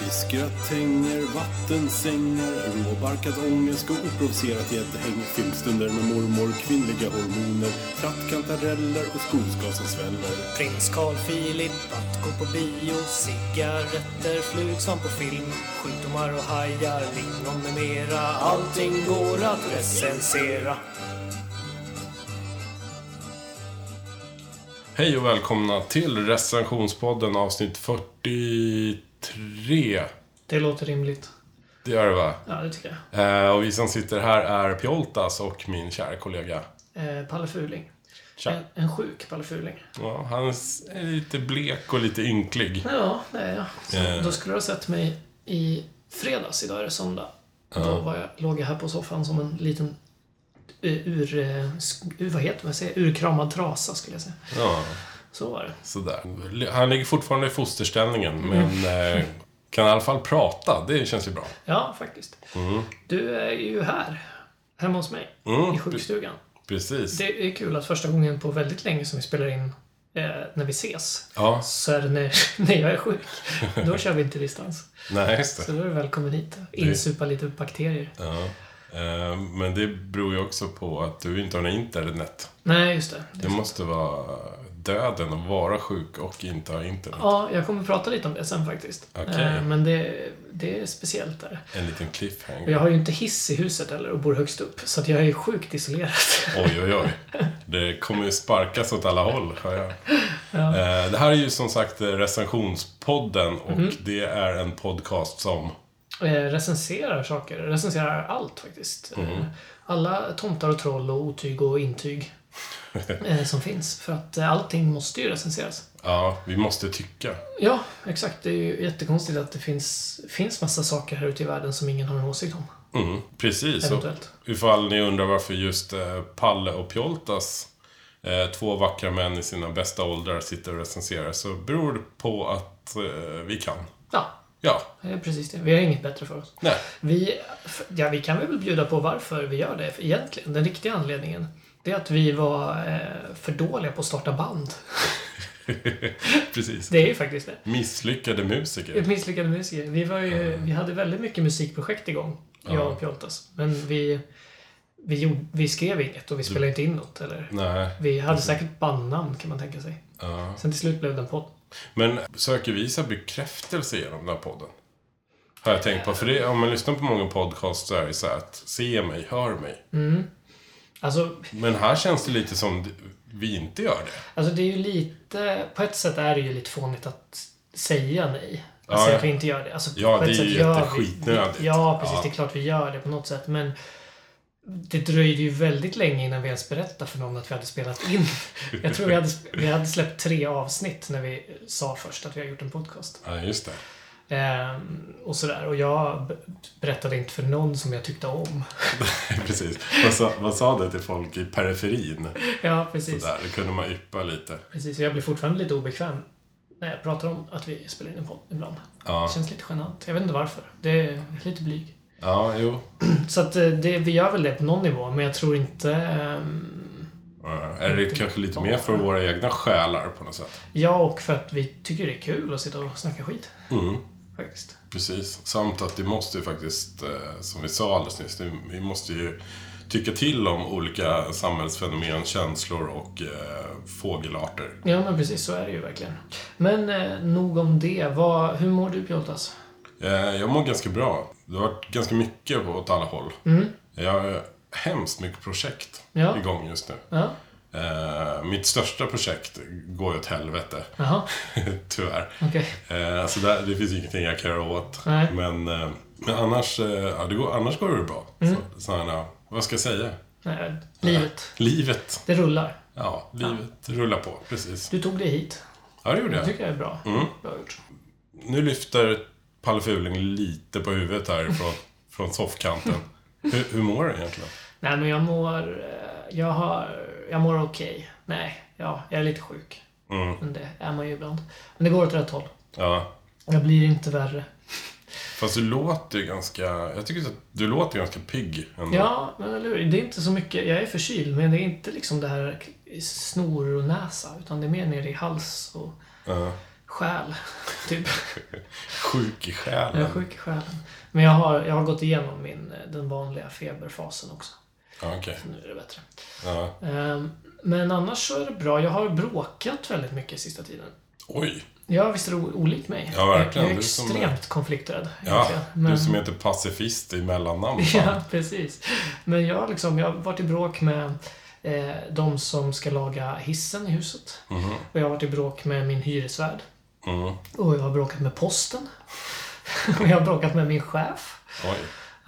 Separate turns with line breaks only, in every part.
I skrattänger, vattensängar, råbarkad ångest och oprovocerat gäddhäng. Filmstunder med mormor, kvinnliga hormoner, trattkantareller och skogsglas som sväller.
Prins Carl Philip, att gå på bio, cigaretter, flug som på film, sjukdomar och hajar, lingon med mera. Allting går att recensera.
Hej och välkomna till recensionspodden avsnitt 43.
Det låter rimligt.
Det gör det va?
Ja, det tycker jag.
Eh, och vi som sitter här är Pjoltas och min kära kollega.
Eh, Palle Fuling.
Tja.
En, en sjuk Palle Fuling.
Ja, han s- är lite blek och lite ynklig.
Ja, det är jag. Så
Eh.
Då skulle du ha sett mig i fredags. Idag är det söndag. Då var jag, låg jag här på soffan som en liten eh, ur, eh, sk- ur... Vad heter man? säger? Urkramad trasa, skulle jag säga.
Ja,
Så var det.
sådär. Han ligger fortfarande i fosterställningen, men eh, kan i alla fall prata. Det känns ju bra.
Ja, faktiskt.
Mm.
Du är ju här. Hemma hos mig. I sjukstugan.
Precis.
Det är kul att första gången på väldigt länge som vi spelar in eh, när vi ses
Ja,
så är det när, när jag är sjuk. Då kör vi inte distans.
nej, just det.
Så då är du välkommen hit. Insupa lite bakterier.
Ja. Eh, Men det beror ju också på att du inte har något internet.
Nej, just det.
Det måste vara döden att vara sjuk och inte ha internet.
Ja, jag kommer prata lite om det sen faktiskt.
Okej.
Eh, Men det, det är speciellt där.
En liten
Och
cliffhanger.
jag har ju inte hiss i huset heller och bor högst upp. Så att jag är ju sjukt isolerad.
Oj, oj, oj. Det kommer ju sparkas åt alla håll, hör jag. Eh, Det här är ju som sagt eh, recensionspodden och
Mhm.
det är en podcast som...
Eh, recenserar saker. Recenserar allt faktiskt. Eh,
Mm-hmm.
Alla tomtar och troll och otyg och intyg eh, som finns. För att eh, allting måste ju recenseras.
Ja, vi måste tycka.
Ja, exakt. Det är ju jättekonstigt att det finns, finns massa saker här ute i världen som ingen har en åsikt om.
Mm, precis. Och
Eventuellt.
ifall ni undrar varför just eh, Palle och Pjoltas, eh, två vackra män i sina bästa åldrar, sitter och recenserar så beror det på att eh, vi kan.
Ja,
Ja,
det är precis det. Vi har inget bättre för oss.
nej.
Vi, f- ja, vi kan väl bjuda på varför vi gör det egentligen. Den riktiga anledningen. Det är att vi var eh, för dåliga på att starta band.
Precis.
Det är ju faktiskt det.
Misslyckade musiker.
Ett misslyckade musiker. Vi, var ju, vi hade väldigt mycket musikprojekt igång, jag och Pjoltas. Men vi, vi, gjorde, vi skrev inget och vi
Mm.
spelade inte in något. Eller.
Nej.
Vi hade säkert bandnamn kan man tänka sig.
Ja.
Sen till slut blev det en podd.
Men söker vi så här bekräftelse genom den här podden? Har jag tänkt på. För det, om man lyssnar på många podcasts så är det så här att se mig, hör mig.
Mm. Alltså,
Men här känns det lite som vi inte gör det.
alltså det är ju lite... På ett sätt är det ju lite fånigt att säga nej. Att
Ja,
säga
ja.
att vi inte gör det. Alltså,
Ja,
på ett
det är
sätt
ju
gör vi-
jätteskitnödigt.
Ja, precis.
Ja.
Det är klart vi gör det på något sätt. Men det dröjde ju väldigt länge innan vi ens berättade för någon att vi hade spelat in. Jag tror vi hade, vi hade släppt tre avsnitt när vi sa först att vi har gjort en podcast.
Ja, just det.
Ehm, och sådär. Och jag b- berättade inte för någon som jag tyckte om.
Precis. Vad sa, vad sa det till folk i periferin?
Ja, precis.
Där, det kunde man yppa lite.
Precis, och jag blir fortfarande lite obekväm när jag pratar om att vi spelar in en podd ibland.
Ja.
Det känns lite genant. Jag vet inte varför. Det är lite blyg.
Ja, jo.
Så att eh, det, vi gör väl det på någon nivå, men jag tror inte... ehm,
Ja, Är det kanske lite mer för våra egna själar på något sätt?
ja, och för att vi tycker det är kul att sitta och snacka skit.
Mm.
Faktiskt.
Precis. Samt att det måste ju faktiskt, eh, som vi sa alldeles nyss, det- vi måste ju tycka till om olika samhällsfenomen, känslor och eh, fågelarter.
Ja, men precis så är det ju verkligen. Men eh, nog om det. Vad, hur mår du Pjoltas?
Eh, jag mår ganska bra. Det har varit ganska mycket på åt alla håll.
Mm.
Jag har hemskt mycket projekt
Ja.
igång just nu.
Ja,
Eh, mitt största projekt går ju åt helvete,
jaha,
tyvärr.
okej.
Eh, så där, det finns ju ingenting jag kan göra åt.
Nej.
Men, eh, men annars, eh, ja, det går, annars går det bra.
Mm.
Så, så här, ja, vad ska jag säga?
Nej, Livet.
Livet.
Det rullar.
Ja, livet rullar på. Precis.
Du tog dig hit.
Ja, det gjorde
Det
jag.
tycker jag är bra. Bra gjort.
Nu lyfter Palle Fuling lite på huvudet här från, från soffkanten. Hur, hur mår du egentligen?
Nej, men jag mår... eh, Jag har... Jag mår okej. Nej, ja, jag är lite sjuk. Men det är man ju ibland. Men det går åt rätt håll.
Mm. Ja,
Jag blir inte värre.
fast du låter ju ganska... Jag tycker att du låter ganska pigg ändå.
Ja, men eller hur? Det är inte så mycket... Jag är förkyld, men det är inte liksom det här snor och näsa. Utan det är mer nere i hals och
Ja.
själ. Typ.
Sjuk i
Jag är
själen.
sjuk i själen. Men jag har, jag har gått igenom min, eh, den vanliga feberfasen också.
Ja, okej.
Nu är det bättre.
Ja.
Ehm, Men annars så är det bra. Jag har bråkat väldigt mycket sista tiden.
Oj.
Ja, visst är du olikt mig?
Ja, verkligen.
Jag är
Du som är-
extremt konflikträdd.
Ja,
egentligen.
du som heter pacifist i mellannamn.
Ja,
fan.
precis. Men jag, har liksom, jag har varit i bråk med eh, de som ska laga hissen i huset.
Mm-hmm.
Och jag har varit i bråk med min hyresvärd.
Mm.
Och jag har bråkat med posten. och jag har bråkat med min chef.
Oj.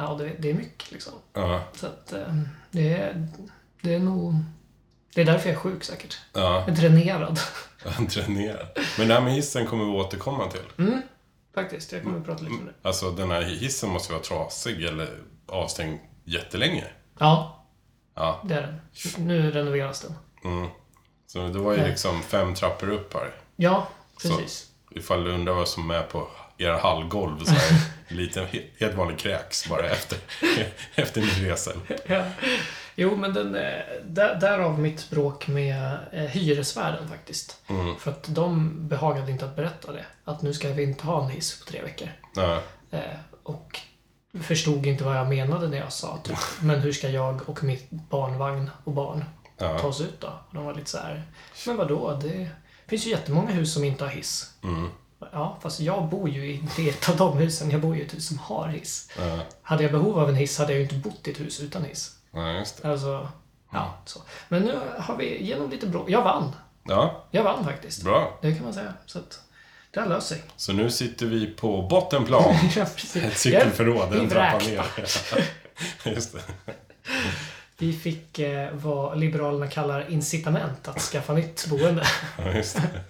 Ja, det, det är mycket liksom.
Ja.
Så att, eh, det, är, det är nog... Det är därför jag är sjuk säkert.
Ja.
Jag är dränerad.
Dränerad. Men det här med hissen kommer vi återkomma till.
Faktiskt, jag kommer att prata lite om det.
Alltså den här hissen måste vara trasig eller avstängd jättelänge.
Ja,
Ja.
det är den. Nu renoveras den.
Mm. Så det var ju
Nej.
liksom fem trappor upp här.
Ja, precis.
Ifall du undrar vad som är på era hallgolv så är det en liten, he- helt vanlig kräks bara efter, efter min resa.
Ja. Jo, men den, eh, där, därav mitt bråk med eh, hyresvärden faktiskt. För att de behagade inte att berätta det. Att nu ska vi inte ha en hiss på tre veckor.
Ja.
Eh, och förstod inte vad jag menade när jag sa typ, men hur ska jag och mitt barnvagn och barn
Ja.
ta oss ut då? Och de var lite så här, men vadå, det finns ju jättemånga hus som inte har hiss. Ja, fast jag bor ju i det av de husen. Jag bor ju i ett hus som har hiss.
Ja.
Hade jag behov av en hiss hade jag ju inte bott i ett hus utan hiss.
ja, just det.
Alltså, ja, så. Men nu har vi genom lite bråk. Jag vann.
Ja,
Jag vann faktiskt.
bra.
Det kan man säga. Så att, det har löst sig.
Så nu sitter vi på bottenplan.
Ja, precis.
Ett cykelförråd,
Jag är
en trappa
vräkt.
ner. Just det.
Vi fick eh, vad Liberalerna kallar incitament att skaffa nytt boende.
Ja, just det.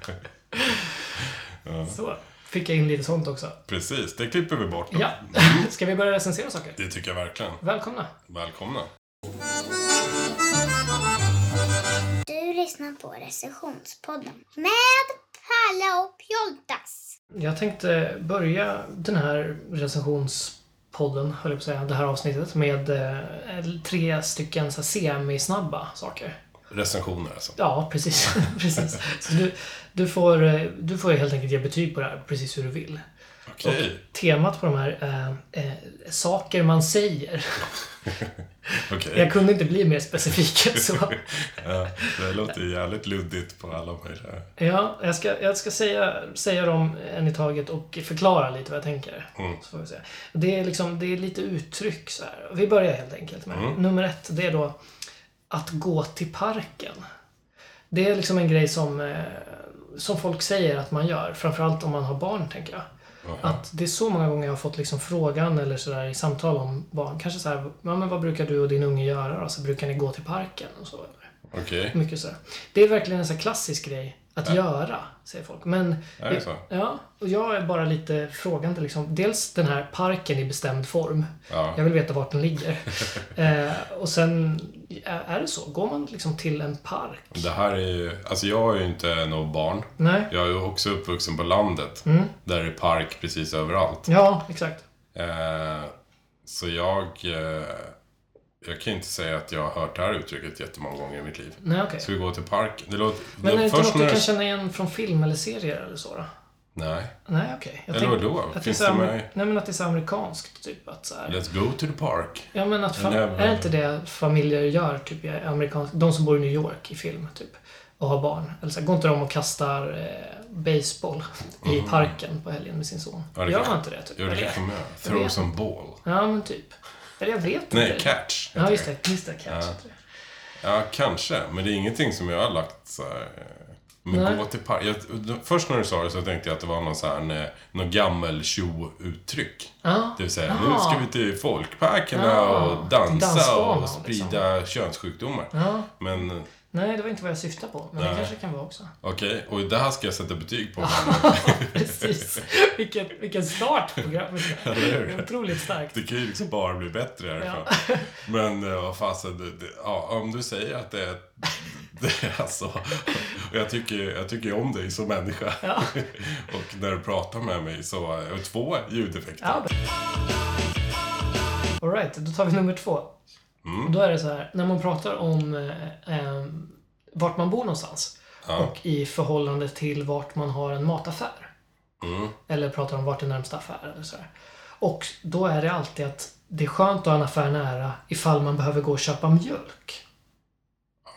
Så fick jag in lite sånt också.
Precis, det klipper vi bort. då.
Ja, ska vi börja recensera saker?
Det tycker jag verkligen.
Välkomna!
Välkomna.
Du lyssnar på Recessionspodden med Palle och Pjoltas.
Jag tänkte börja den här recensionspodden, höll jag på att säga, det här avsnittet med eh, tre stycken så här semisnabba saker.
Recensioner alltså.
Ja, precis. precis. Så du, du, får, eh, du får helt enkelt ge betyg på det här precis hur du vill.
Okej.
Temat på de här eh, eh, saker man säger.
Okej.
Jag kunde inte bli mer specifik än så.
Ja, det låter ju jävligt luddigt på alla möjliga...
Ja, jag ska, jag ska säga, säga dem en i taget och förklara lite vad jag tänker. Så får vi se. Det, är liksom, det är lite uttryck så här. Vi börjar helt enkelt med nummer ett. Det är då att gå till parken. Det är liksom en grej som, eh, som folk säger att man gör. Framförallt om man har barn, tänker jag. Att det är så många gånger jag har fått liksom frågan eller sådär i samtal om barn. Kanske så här, ja, men vad brukar du och din unge göra då? Så brukar ni gå till parken? Och så.
Okej.
Mycket så. Det är verkligen en så här klassisk grej att göra, säger folk. Men,
Är det så?
Ja, och jag är bara lite frågande. Liksom. Dels den här parken i bestämd form.
Ja.
Jag vill veta vart den ligger. eh, och sen, är är det så? Går man liksom till en park?
Det här är ju... Alltså jag är ju inte något barn.
Nej?
Jag är ju också uppvuxen på landet.
Mm.
Där det är park precis överallt.
Ja, exakt.
Eh, så jag... Eh, jag kan ju inte säga att jag har hört det här uttrycket jättemånga gånger i mitt liv.
Nej, okej.
Ska vi gå till parken? Det låter...
Men är det inte något
när
du kan känna igen från film eller serier eller så? Då?
Nej.
Nej, okej. Jag
Eller
tänk-
vadå?
Att det är
Finns
så
det
amer-
med-
Nej, men att det är så amerikanskt, typ. Att så här,
Let's go to the park.
Ja men att fam-
Eller-
är inte det familjer gör typ i amerikansk, de som bor i New York i film typ och har barn. Eller så här, går inte de och kastar eh, baseball i parken på helgen med sin son?
Mm. Ja, det
gör
kan-
man inte det typ?
Jo, det
Eller-
kanske man gör. Throw some ball.
Ja men typ. Eller jag vet
Nej,
inte.
catch. heter
ja just det, just det, catch. heter det.
Ja, kanske. Men det är ingenting som jag har lagt så här, eh, Men
Nej.
gå till park. Jag, först när du sa det så tänkte jag att det var någon så här, eh, någon gammel uttryck
Ja,
Det vill säga, nu
Jaha.
ska vi till folkparkerna
Ja,
och dansa
dansbanan, liksom.
och sprida könssjukdomar.
ja.
Men eh,
Nej det var inte vad jag syftade på. Men
Nej.
det kanske kan vara också.
okej, och det här ska jag sätta betyg på.
Precis. Vilken, vilken start på programmet.
Eller hur?
Otroligt starkt.
Det kan ju liksom bara bli bättre härifrån. Men eh, vad fasen, det, det, ja, om du säger att det är... Det är alltså, och jag tycker ju jag tycker ju om dig som människa. Och när du pratar med mig så... Och två ljudeffekter.
Ja. Alright, då tar vi nummer två.
Mm.
Då är det så här, när man pratar om eh, eh, vart man bor någonstans och i förhållande till vart man har en mataffär.
Mm.
Eller pratar om vart är närmsta affär eller sådär. Och då är det alltid att det är skönt att ha en affär nära ifall man behöver gå och köpa mjölk.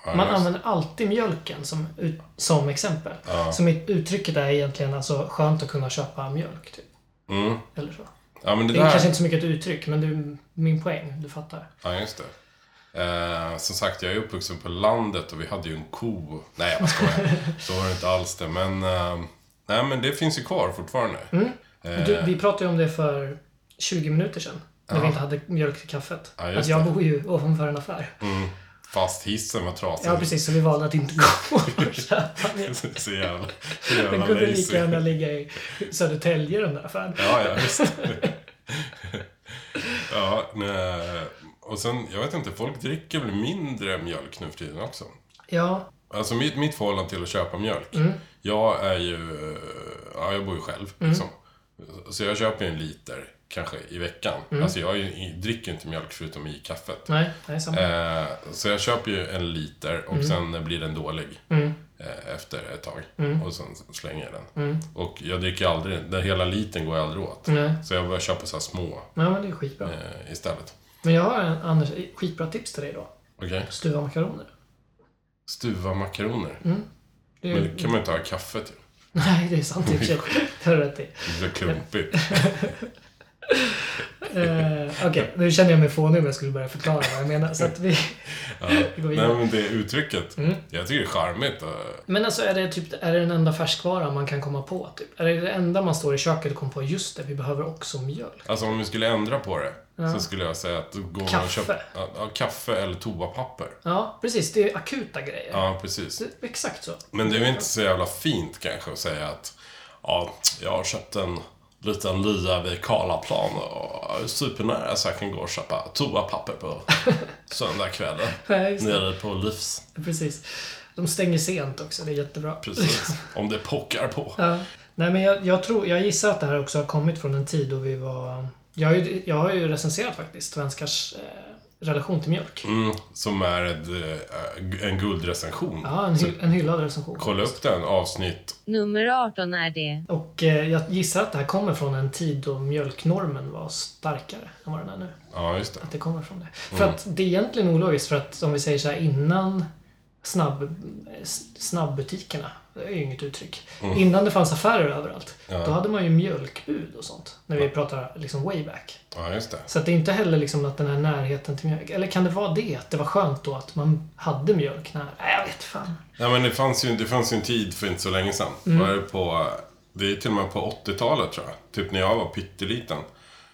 Ja,
Man
just-
använder alltid mjölken som, ut- som exempel.
Ja.
Så mitt uttrycket är egentligen alltså skönt att kunna köpa mjölk. Typ.
Mm.
Eller så.
Ja, men det
Det är kanske
där...
inte så mycket ett uttryck, men det är min poäng. Du fattar.
Ja, just det. Eh, som sagt, jag är uppvuxen på landet och vi hade ju en ko. Nej, jag skojar. Så var det inte alls det. Men, eh, nej, men det finns ju kvar fortfarande.
Mm.
Eh,
Du, vi pratade ju om det för 20 minuter sedan. När vi
Ja.
inte hade mjölk till kaffet.
Ja, just
att jag
det.
bor ju ovanför en affär.
mm, fast hissen var trasig.
Ja, precis. Så vi valde att inte gå och köpa mjölk.
så jävla, så jävla
Den kunde
lazy.
lika gärna ligga i Södertälje, den där affären.
Ja, ja, visst. ja, nej. och sen, jag vet inte, folk dricker väl mindre mjölk nu för tiden också.
Ja,
Alltså mitt, mitt förhållande till att köpa mjölk. Jag är ju, eh, ja jag bor ju själv liksom. Så jag köper ju en liter kanske i veckan. Alltså jag är ju- dricker ju inte mjölk förutom i kaffet.
nej, det är samma.
Eh, så jag köper ju en liter
Mm.
och sen blir den dålig. Eh, efter ett tag.
Mm.
Och sen slänger jag den. Och jag dricker aldrig, den hela liten går jag aldrig åt.
Nej.
Så jag börjar köpa så här små
Ja, men det är skitbra.
eh, istället.
Men jag har en, Anders, skitbra tips till dig då.
Okej?
Stuva makaroner.
Stuva makaroner.
Det är,
Men det kan man ju inte ha i kaffet ju.
Nej, det är sant i och för sig. Det har du rätt i.
Det blir så klumpigt.
Eh, Okej, nu känner jag mig fånig om jag skulle börja förklara vad jag menar. Så att vi, vi
Nej
går vidare.
men det uttrycket.
Mm.
Jag tycker det är charmigt. Och,
Men alltså, är det, typ, är det den enda färskvaran man kan komma på? Typ? Är det det enda man står i köket och kommer på? Just det, vi behöver också mjölk.
alltså om vi skulle ändra på det. Så skulle jag säga att gå och
Kaffe.
köpa ja, ja, kaffe eller toapapper.
Ja, precis. Det är akuta grejer.
Ja, precis.
Det- Exakt så.
Men det är ju inte så jävla fint kanske att säga att ja, jag har köpt en liten lya vid Karlaplan och är supernära så jag kan gå och köpa toapapper på söndagskvällen.
Nej, just det.
Nere på Livs.
Precis. De stänger sent också, det är jättebra.
Precis. Om det pockar på.
Ja. Nej, men jag, jag, tror, jag gissar att det här också har kommit från en tid då vi var... Jag har ju, jag har ju recenserat faktiskt svenskars eh, relation till mjölk.
Mm, som är ett, eh, en guldrecension.
Ja, en, hy, en hyllad recension.
Kolla upp den, avsnitt.
Nummer 18 är det.
Och eh, jag gissar att det här kommer från en tid då mjölknormen var starkare än vad den är nu.
Ja, just det.
Att det kommer från det. För att det är egentligen ologiskt för att om vi säger så här innan snabb, eh, s- snabbutikerna, det är ju inget uttryck. Innan det fanns affärer överallt, då hade man ju mjölkbud och sånt. När vi pratar liksom way back.
Ja, just det.
Så att det är inte heller liksom att den här närheten till mjölk, eller kan det vara det? Att det var skönt då att man hade mjölk nära? Nej, jag vet fan.
Nej, men det fanns, ju, det fanns ju en tid för inte så länge sedan.
Mm.
Var det, på, det är till och med på 80-talet tror jag. Typ när jag var pytteliten.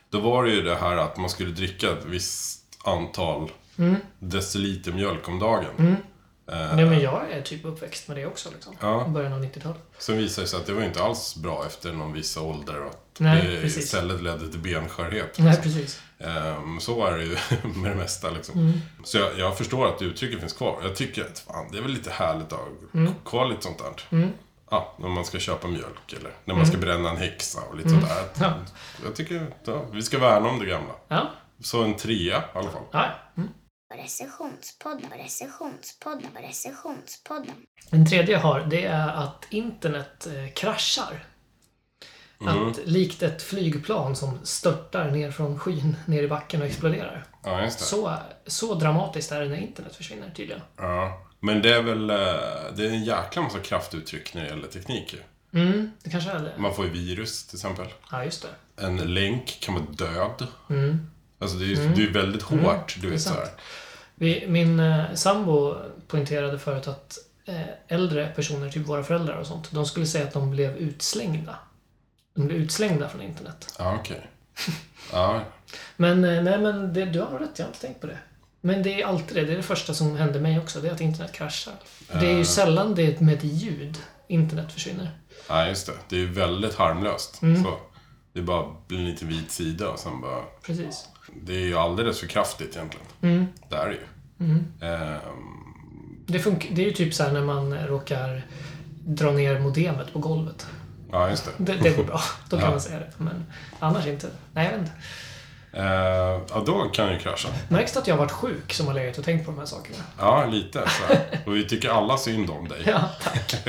Då var det ju det här att man skulle dricka ett visst antal
Mm.
deciliter mjölk om dagen.
Nej, men jag är typ uppväxt med det också liksom.
Ja.
I början av 90-talet.
Sen visade det sig att det var ju inte alls bra efter någon viss ålder. Och att
Nej,
det
precis.
istället ledde till benskörhet.
Nej, precis.
Ehm, så är det ju med det mesta liksom.
Mm.
Så jag, jag förstår att uttrycket finns kvar. Jag tycker att fan, det är väl lite härligt att ha
Mm.
kvar lite sånt där. Ja, när man ska köpa mjölk eller när man ska bränna en häxa och lite sånt där.
Mm. Ja.
Jag tycker ja, vi ska värna om det gamla.
Ja.
Så en trea i alla fall.
ja. Mm.
Recessionspodden. Recessionspodden. Recessionspodden.
Den tredje jag har, det är att internet eh, kraschar. Att likt ett flygplan som störtar ner från skyn ner i backen och exploderar.
Ja, just det.
Så, så dramatiskt är det när internet försvinner tydligen.
Ja. Men det är väl eh, det är en jäkla massa kraftuttryck när det gäller teknik ju.
Mm, det kanske är det.
Man får ju virus till exempel.
Ja, just det.
En länk kan vara död.
Mm.
Alltså det är ju det är ju väldigt hårt, du vet så
sant.
här.
Vi, min eh, sambo poängterade förut att eh, äldre personer, typ våra föräldrar och sånt, de skulle säga att de blev utslängda. De blev utslängda från internet.
Ja, okej. Ja,
Men eh, nej, men det, du har nog rätt. Jag har inte tänkt på det. Men det är alltid det. Det är det första som händer mig också. Det är att internet kraschar. Det är
Ah.
ju sällan det är med ett ljud internet försvinner.
ja, just det. Det är ju väldigt harmlöst. Så. Det är bara en liten vit sida och sen bara...
Precis.
Det är ju alldeles för kraftigt egentligen. Det är det ju. Ehm,
Det, funkar, det är ju typ så här när man råkar dra ner modemet på golvet.
ja, just det.
Det, det går bra. Då kan man säga det. Men annars inte. Nej, jag vet inte.
Eh, ja, då kan jag ju krascha.
Märks det att jag har varit sjuk som har legat och tänkt på de här sakerna?
Ja, lite. Så här. Och vi tycker alla synd om dig.
Ja, tack.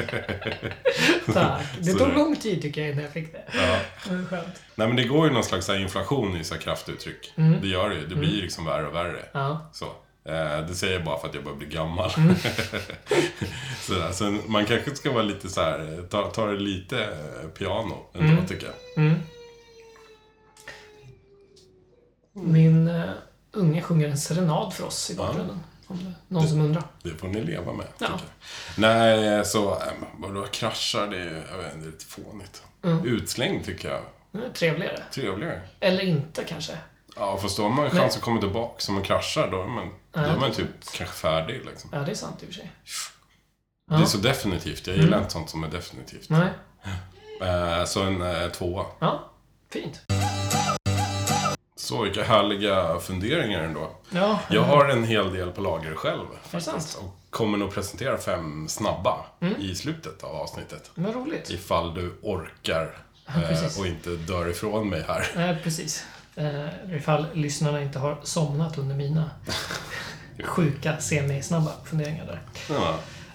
tack. Det
Så
tog
det-
lång tid tycker jag innan jag fick det.
Ja.
Men skönt.
Nej, men det går ju någon slags så här inflation i så här kraftuttryck. Det gör det ju. Det blir ju liksom värre och värre.
Ja.
Så. Eh, det säger jag bara för att jag börjar bli gammal. så där. Sen, man kanske ska vara lite så här, eh, ta, ta det lite eh, piano ändå, tycker jag.
Min eh, unge sjunger en serenad för oss i bakgrunden. Om det är någon som undrar.
Det får ni leva med,
Ja.
tycker jag. Nej, så eh, vadå, kraschar, det är, ju- jag vet, inte, det är lite fånigt. Utslängd tycker jag.
Nu är det trevligare.
Trevligare.
Eller inte kanske.
Ja, fast då har man en chans att komma tillbaka. Som man kraschar, då är man, då är man typ kanske färdig. Liksom.
Ja, det är sant i och för sig.
Det är så definitivt. Jag gillar inte sånt som är definitivt.
Nej.
Eh, så en eh, tvåa.
Ja, fint.
Så, vilka härliga funderingar ändå.
Ja,
Jag har en hel del på lager själv.
är det sant?
Och kommer nog presentera fem snabba
Mm.
i slutet av avsnittet.
Men roligt.
Ifall du orkar
precis.
eh, och inte dör ifrån mig här.
Nej, precis. Eh, ifall lyssnarna inte har somnat under mina sjuka, semisnabba funderingar där.
Ja.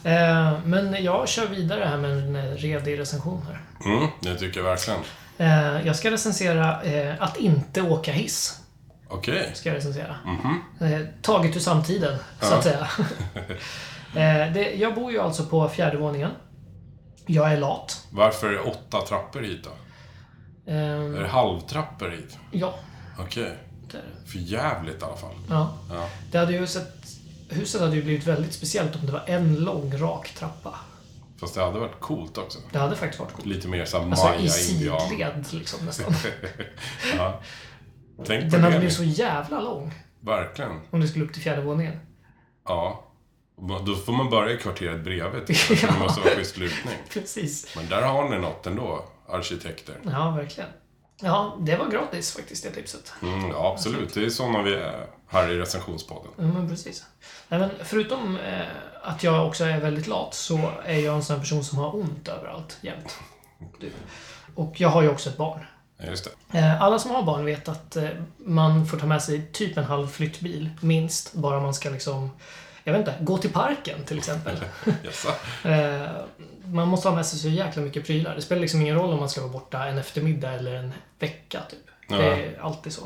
Eh, men jag kör vidare här med en eh, redig recension här.
Mm, det tycker jag verkligen.
Eh, jag ska recensera eh, Att inte åka hiss.
Okej.
Ska jag recensera. Eh, taget ur samtiden, så att säga. eh, det, jag bor ju alltså på fjärde våningen. Jag är lat.
Varför är det åtta trappor hit då?
Eh,
Är det halvtrappor hit?
ja,
Okej.
det är det.
För jävligt i alla fall.
Ja.
Ja.
Det hade ju sett, huset hade ju blivit väldigt speciellt om det var en lång rak trappa.
Fast det hade varit coolt också.
Det hade faktiskt varit coolt.
Lite mer såhär
Alltså i
maya-indian.
sidled liksom nästan.
ja. Tänk på
Den hade
det.
blivit så jävla lång
Verkligen.
om du skulle upp till fjärde våningen.
Ja. Då får man börja i kvarteret bredvid. tycker jag. Det måste vara schysst lutning.
Precis.
Men där har ni något ändå, arkitekter.
Ja, verkligen. Ja, det var gratis faktiskt det tipset.
Mm, ja, absolut. Det är sådana vi är eh, här i recensionspodden.
Ja, Mm, men precis. Nej, men förutom eh, att jag också är väldigt lat så är jag en sån här person som har ont överallt jämt. Typ. Och jag har ju också ett barn.
Ja, Just det.
Eh, Alla som har barn vet att eh, man får ta med sig typ en halv flyttbil, minst, bara man ska liksom, jag vet inte, gå till parken till exempel.
Jaså?
Eh, man måste ha med sig så jäkla mycket prylar. Det spelar liksom ingen roll om man ska vara borta en eftermiddag eller en vecka typ. Det är alltid så.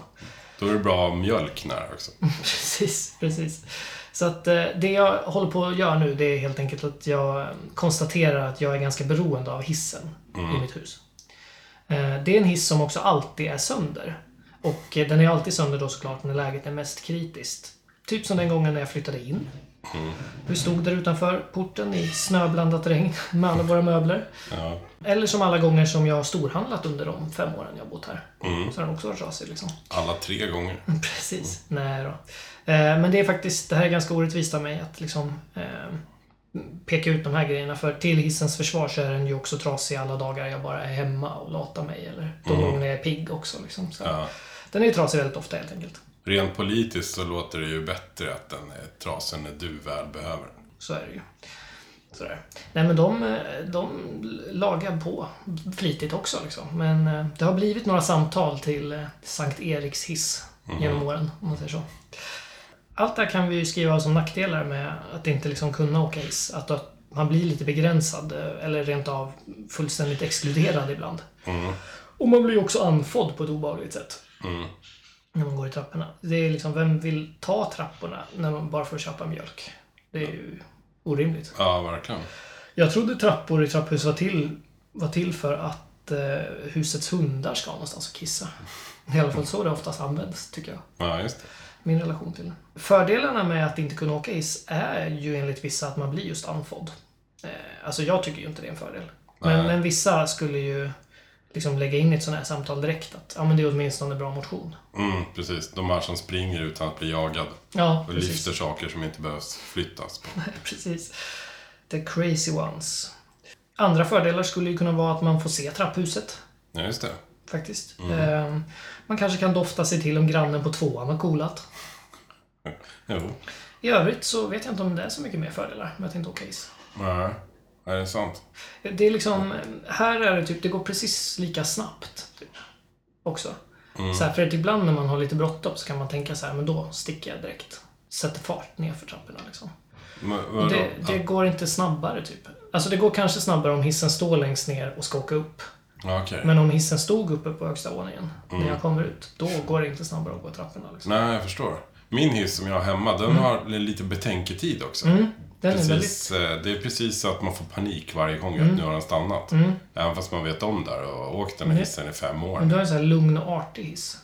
Då är det bra mjölk nära också.
Precis, precis. Så att eh, det jag håller på att göra nu det är helt enkelt att jag eh, konstaterar att jag är ganska beroende av hissen i mitt hus. Eh, Det är en hiss som också alltid är sönder. Och eh, den är alltid sönder då såklart när läget är mest kritiskt. Typ som den gången när jag flyttade in. Vi stod där utanför porten i snöblandat regn med alla våra möbler.
Ja.
Eller som alla gånger som jag har storhandlat under de fem åren jag har bott här. Så har den också varit trasig liksom.
Alla tre gånger.
Precis. Nej då. Eh, Men det är faktiskt, det här är ganska orättvist av mig att liksom eh, peka ut de här grejerna. För till hissens försvar så är den ju också trasig alla dagar jag bara är hemma och latar mig. Eller de gånger jag är pigg också. Liksom. Så
Ja.
Den är ju trasig väldigt ofta helt enkelt.
Rent politiskt så låter det ju bättre att den eh, är trasig när du väl behöver den.
Så är det ju. Sådär. Nej men de, eh, de lagar på flitigt också. Liksom. Men eh, det har blivit några samtal till eh, Sankt Eriks hiss genom åren, om man säger så. Allt det här kan vi ju skriva som nackdelar med att inte liksom kunna åka hiss. Att att man blir lite begränsad eh, eller rent av fullständigt exkluderad ibland. Och man blir ju också andfådd på ett obehagligt sätt. När man går i trapporna. Det är liksom, vem vill ta trapporna när man bara får köpa mjölk? Det är ju orimligt.
Ja, verkligen.
Jag trodde trappor i trapphus var till, var till för att eh, husets hundar ska ha någonstans att kissa. I alla fall så det oftast används, tycker jag.
Ja, just det.
Min relation till det. Fördelarna med att inte kunna åka hiss är ju enligt vissa att man blir just andfådd. Eh, alltså jag tycker ju inte det är en fördel. Men, men vissa skulle ju liksom lägga in i ett sånt här samtal direkt att ja, men det är åtminstone bra motion.
Mm, precis. De här som springer utan att bli jagad
Ja,
och
precis.
lyfter saker som inte behövs flyttas på.
Precis. The crazy ones. Andra fördelar skulle ju kunna vara att man får se trapphuset.
Ja, just det.
Faktiskt.
Mm.
Ehm, Man kanske kan dofta sig till om grannen på tvåan har kolat.
Jo.
I övrigt så vet jag inte om det är så mycket mer fördelar med att inte åka hiss.
Nej, är det sant?
Det är liksom, här är det typ, det går precis lika snabbt. Typ, också.
Mm.
Så här, för att ibland när man har lite bråttom så kan man tänka så här, men då sticker jag direkt. Sätter fart nerför trapporna liksom.
Men,
Och
vadå?
det det
Ja.
går inte snabbare typ. Alltså det går kanske snabbare om hissen står längst ner och ska åka upp.
Ja, okej.
Men om hissen stod uppe på högsta våningen
Mm.
när jag kommer ut, då går det inte snabbare att gå trapporna. Liksom.
Nej, jag förstår. Min hiss som jag har hemma, den har lite betänketid också.
Mm. Den är väldigt... Mm.
Precis, eh, det är precis så att man får panik varje gång att nu har den stannat. Även fast man vet om det här och har åkt
Mm.
den här hissen i fem år.
Men du har en sån här lugn och artig hiss.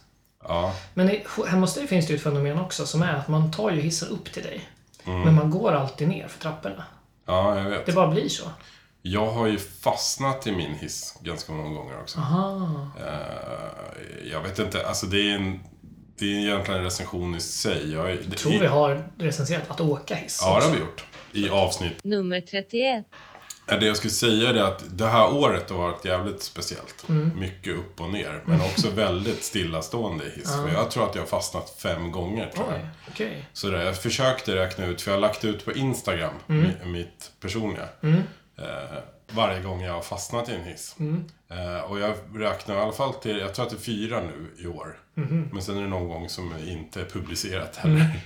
Ja,
Men i- hemma hos dig finns det ju ett fenomen också som är att man tar ju hissen upp till dig. Men man går alltid ner för trapporna.
ja, jag vet.
Det bara blir så.
Jag har ju fastnat i min hiss ganska många gånger också.
Aha.
Eh, Jag vet inte, alltså det är, en, det är egentligen en recension i sig. Jag, är- det,
Tror vi har recenserat att åka hiss.
Ja, det
också.
har vi gjort. I avsnitt.
Nummer 31.
Eh, Det jag skulle säga är att det här året har varit jävligt speciellt. Mycket upp och ner. Men också väldigt stillastående i hiss. För Jag tror att jag har fastnat fem gånger. Tror jag.
Oj, okej.
Så där, jag försökte räkna ut, för jag har lagt ut på Instagram, mi- mitt personliga. Eh, varje gång jag har fastnat i en hiss. Eh, och jag räknar i alla fall till, jag tror att det är fyra nu i år. Men sen är det någon gång som inte är publicerat heller.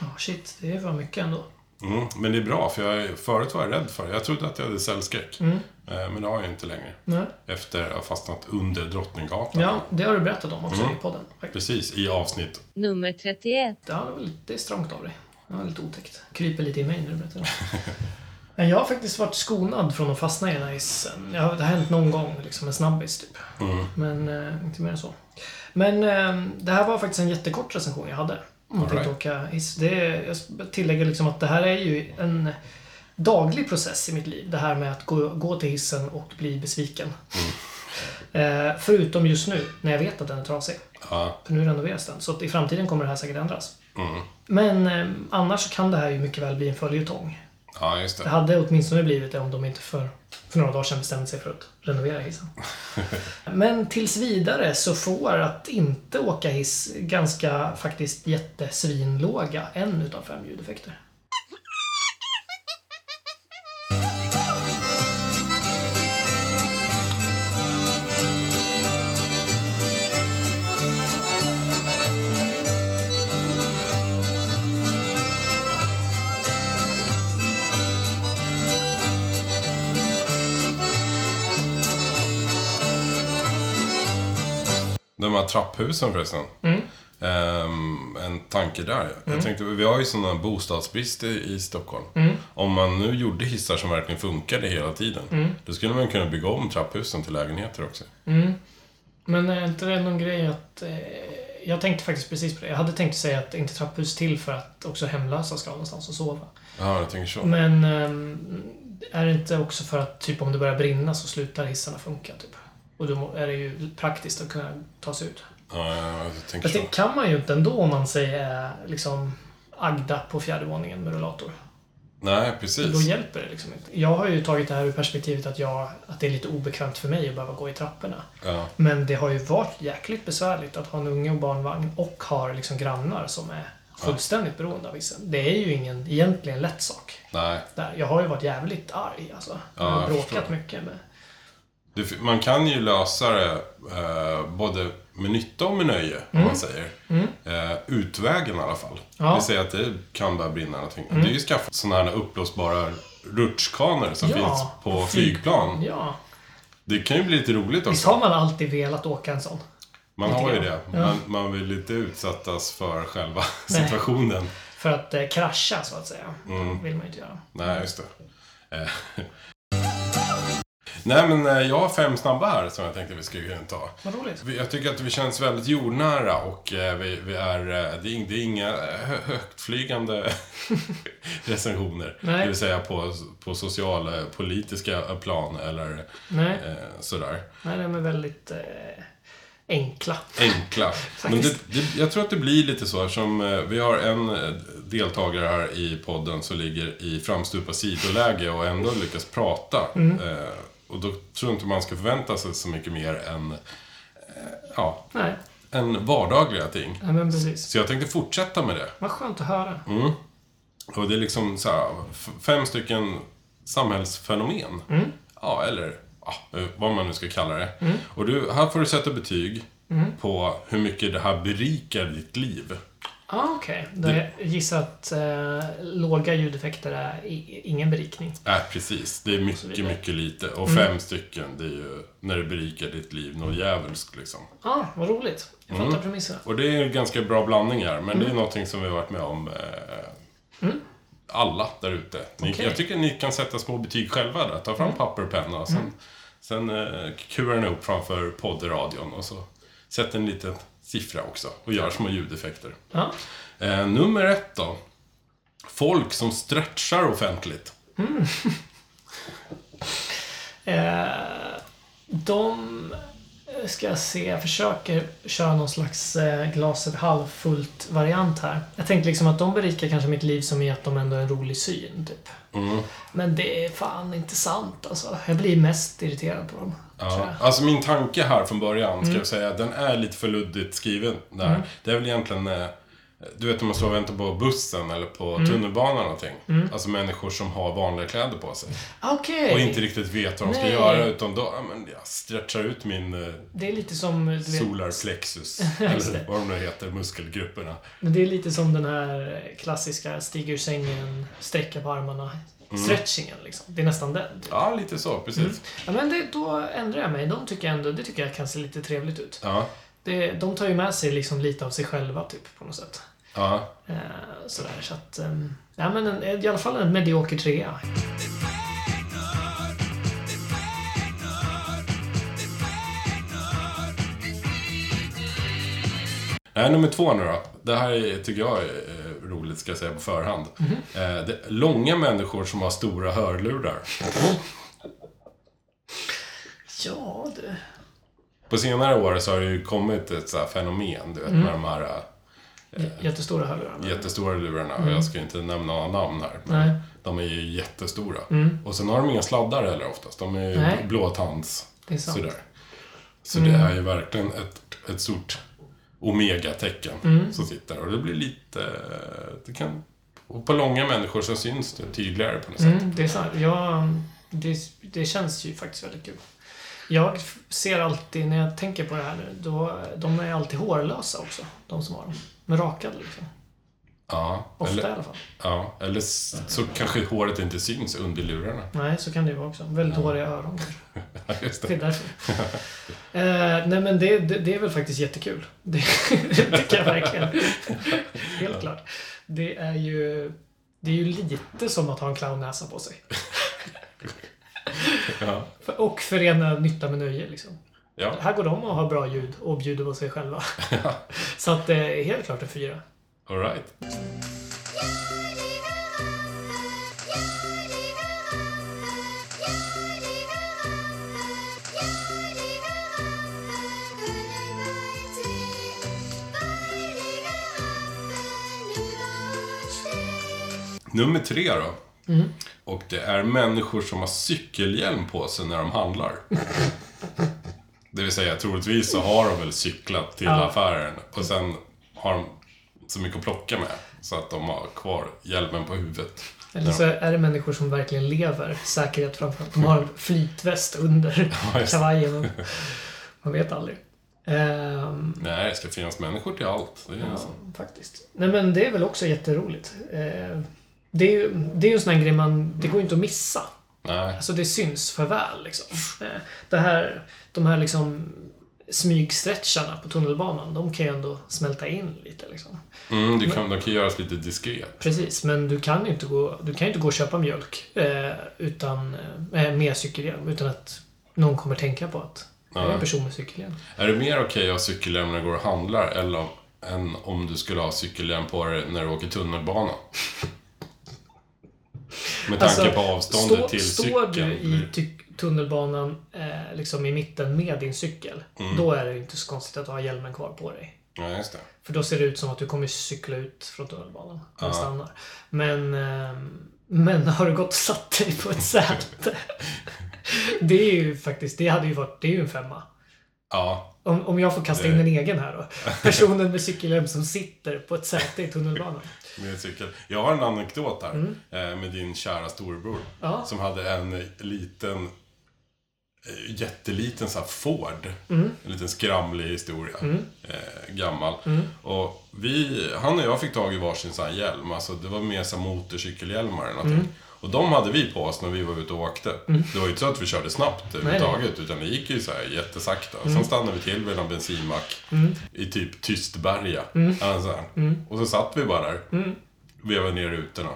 Ja, shit, det var mycket ändå.
Mm. Men det är bra, för jag, förut var jag rädd för det. Jag trodde att jag hade cellskräck. Eh, men det har jag inte längre.
Mm. Nej.
Efter att ha fastnat under Drottninggatan.
Ja, det har du berättat om också i podden. faktiskt.
Precis, i avsnitt.
Nummer 31.
Ja, det, var lite, det är strångt av dig. Det var lite otäckt. Kryper lite i mig när du berättar det. Men Jag har faktiskt varit skonad från att fastna i den här hissen. Ja, det har hänt någon gång, liksom en snabbis typ. Men eh, inte mer än så. Men eh, det här var faktiskt en jättekort recension jag hade. Om
All
att
right.
inte åka hiss. Det, är- jag tillägger liksom att det här är ju en daglig process i mitt liv. Det här med att gå, gå till hissen och bli besviken. Eh, förutom just nu, när jag vet att den är trasig.
Ja,
För nu renoveras den. Så att i framtiden kommer det här säkert ändras.
mm.
Men eh, annars så kan det här ju mycket väl bli en följetong.
ja just
Det
det.
hade åtminstone blivit det om de inte för, för några dagar sedan bestämde sig för att renovera hissen. Men tills vidare så får att inte åka hiss ganska faktiskt jättesvinlåga en utav fem ljudeffekter.
De här trapphusen förresten.
Mm.
Ehm, en tanke där. Jag tänkte, vi har ju sådana bostadsbrist i, i Stockholm.
Mm.
Om man nu gjorde hissar som verkligen funkade hela tiden.
Mm.
Då skulle man kunna bygga om trapphusen till lägenheter också.
Men är inte det någon grej att... Eh, jag tänkte faktiskt precis på det. Jag hade tänkt säga att inte trapphus till för att också hemlösa ska ha någonstans att sova.
Ja, jag tänker så.
Men ehm, är det inte också för att typ om det börjar brinna så slutar hissarna funka? Typ? Och då må- är det ju praktiskt att kunna ta sig ut.
Ja, jag tänker
Fast det
så.
kan man ju inte ändå om man säger eh, liksom Agda på fjärde våningen med rullator.
Nej,
Då
precis.
hjälper det liksom inte. Jag har ju tagit det här ur perspektivet att, jag, att det är lite obekvämt för mig att behöva gå i trapporna.
Ja.
Men det har ju varit jäkligt besvärligt att ha en unge och barnvagn och har liksom grannar som är fullständigt beroende av hissen. Det är ju ingen egentligen lätt sak
Nej.
där. Jag har ju varit jävligt arg alltså. jag har
jag
bråkat
förstår.
mycket med...
Det, man kan ju lösa det eh, både med nytta och med nöje, om man säger. Eh, utvägen i alla fall.
Mm. Ja. Mm.
Vi säger att det kan börja brinna någonting. Det är ju skaffat sådana här uppblåsbara rutschkanor som
Ja,
finns på
och
flygplan.
Ja.
Det kan ju bli lite roligt
Visst
också.
har man alltid velat åka en sån?
Man har ju
lite
det. Man, man vill inte utsättas för själva
Nej.
situationen.
För att eh, krascha så att säga.
Mm.
Det vill man ju inte göra.
Nej, just det. Eh. Nej, men eh, jag har fem snabba här som jag tänkte vi skulle kunna ta.
Vad roligt.
Vi- Jag tycker att vi känns väldigt jordnära och eh, vi, vi är, eh, det är, ing- det är inga eh, hö- högtflygande recensioner.
Nej.
Det vill säga på, på sociala, politiska eh, plan eller
Nej,
eh, sådär.
nej de är väldigt eh, enkla.
Enkla. Men det, det, jag tror att det blir lite så eftersom eh, vi har en eh, deltagare här i podden som ligger i framstupa sidoläge och ändå lyckas prata. Eh, och då tror jag inte man ska förvänta sig så mycket mer än, eh, ja,
Nej,
än vardagliga ting.
nej men precis.
Så jag tänkte fortsätta med det.
Vad skönt att höra.
Mm. Och Mm. det är liksom så här, f- fem stycken samhällsfenomen. Ja, eller ja, eh, vad man nu ska kalla det. Och du, här får du sätta betyg på hur mycket det här berikar ditt liv.
Ah, Okej, då
Det-
jag gissar att eh, låga ljudeffekter är i, ingen berikning.
Nej, Äh, precis. Alltså, Det är Mm. mycket,
vidare.
mycket lite. Och fem stycken, det är ju när det berikar ditt liv något djävulskt liksom.
Ah, vad roligt. Jag fattar
Mm.
premisserna.
Och det är en ganska bra blandning här, men det är någonting som vi har varit med om eh, alla där ute. Ni-
Okej.
Jag tycker ni kan sätta små betyg själva där. Ta fram papper och penna och sen, sen eh, kurar ni upp framför poddradion och så sätter ni en liten siffra också och gör små ljudeffekter.
Ja.
Eh, nummer ett då. Folk som stretchar offentligt.
Eh, de eh, ska jag se, jag försöker köra någon slags eh, glaset halvfullt variant här. Jag tänkte liksom att de berikar kanske mitt liv som i att de ändå är en rolig syn, typ.
Mm.
Men det är fan inte sant alltså. Jag blir mest irriterad på dem. tror
Ja.
jag. Mm.
Alltså min tanke här från början, ska jag säga, den är lite för luddigt skriven där. Det är väl egentligen, eh, du vet när man står och väntar på bussen eller på
Mm.
tunnelbanan eller någonting. Alltså människor som har vanliga kläder på sig.
Okej!
Och inte riktigt vet vad de ska
Nej.
göra, utan då, ja men jag stretchar ut min eh,
Det är lite som... Du vet,
solar plexus. eller vad de nu heter, muskelgrupperna.
Men det är lite som den här klassiska stig ur sängen, sträcka på armarna,
Mm.
stretchingen liksom. Det är nästan den. typ.
Ja, lite så, precis.
Ja, men det, då ändrar jag mig. De tycker jag ändå, det tycker jag kan se lite trevligt ut.
Ja,
Det, de tar ju med sig liksom lite av sig själva typ på något sätt.
ja.
Eh, sådär så att... Eh, ja men en, i alla fall en medioker trea.
Nej, nummer två nu då. Det här är, tycker jag är eh, roligt, ska jag säga på förhand.
Mm-hmm.
Eh, det, långa människor som har stora hörlurar.
Ja du.
På senare år så har det ju kommit ett så här fenomen, du vet, med
Mm.
de här eh,
Jättestora hörlurar. men-
jättestora lurarna. Och jag ska ju inte nämna några namn här, men
Mm. Nej. Mm.
de är ju jättestora. Och sen har de inga sladdar heller oftast. De är
Nej.
ju blåtands.
Det är sant. Mm.
Sådär. Så det är ju verkligen ett, ett stort omega-tecken
Mm.
som sitter. Och det blir lite... eh, Det kan, och på långa människor så syns det tydligare på något sätt.
Mm, det är sant. Ja, det, det känns ju faktiskt väldigt kul. Jag f- ser alltid, när jag tänker på det här nu, då, de är alltid hårlösa också, de som har dem. Men rakade liksom.
Ja,
Ofta i
eller,
alla fall.
ja, eller s- så kanske håret inte syns under lurarna.
Nej, så kan det ju vara också. Väldigt håriga öron kanske.
Ja, Just
Det
det.
är därför. eh, nej men det, det, det är väl faktiskt jättekul. Det, det tycker jag verkligen. Helt klart. Det är ju... Det är ju lite som att ha en clownnäsa på sig.
Ja.
För- Och förena nytta med nöje liksom.
Ja.
Här går de och har bra ljud och bjuder på sig själva. Så att det är helt klart en fyra.
All right. Nummer tre då. Och det är människor som har cykelhjälm på sig när de handlar. Det vill säga, troligtvis så har de väl cyklat till affären och sen har de så mycket att plocka med så att de har kvar hjälmen på huvudet.
Eller så är det människor som verkligen lever säkerhet framför allt. De har en flytväst under
just det.
kavajen. Man vet aldrig. Ehm,
Nej, det ska finnas människor till allt. Det är ja.
faktiskt. Nej men det är väl också jätteroligt. Eh, det är ju det är ju en sån här grej man, det går ju inte att missa.
Nej,
Alltså det syns för väl liksom. Eh, Det här, de här liksom smygstretcharna på tunnelbanan, de kan ju ändå smälta in lite liksom.
mm, det kan, de kan göras lite diskret.
Precis, men du kan ju inte gå, du kan ju inte gå och köpa mjölk eh, utan, eh, med cykelhjälm utan att någon kommer tänka på att det är en person med cykelhjälm.
Är det mer okej att ha cykelhjälm när du går och handlar eller om, än om du skulle ha cykelhjälm på dig när du åker tunnelbana? Med tanke på avståndet
Alltså, stå-
till
Står
cykeln. Mm.
du i ty- tunnelbanan eh, liksom i mitten med din cykel,
Mm.
då är det ju inte så konstigt att ha hjälmen kvar på dig.
Ja, just det.
För då ser det ut som att du kommer cykla ut från tunnelbanan när du stannar. Men, ehm, men har du gått och satt dig på ett säte? det är ju faktiskt, det hade ju varit, det är ju en femma.
Ja,
Om, om jag får kasta in en egen här då. Personen med cykelhjälm som sitter på ett säte i tunnelbanan.
med cykel. Jag har en anekdot här eh, med din kära storebror.
Ja.
Som hade en liten eh, jätteliten så här Ford.
Mm.
En liten skramlig historia.
Mm.
Eh, gammal.
Mm.
Och vi, han och jag fick tag i varsin sån här hjälm. Alltså det var mer så här motorcykelhjälmar eller
Mm.
någonting. Och de hade vi på oss när vi var ute och åkte. Det var ju inte så att vi körde snabbt överhuvudtaget. Utan det gick ju så här jättesakta.
Mm.
Sen stannade vi till vid en bensinmack. I typ Tystberga.
Mm.
Eller så här. Och så satt vi bara där. Vevade ner rutorna.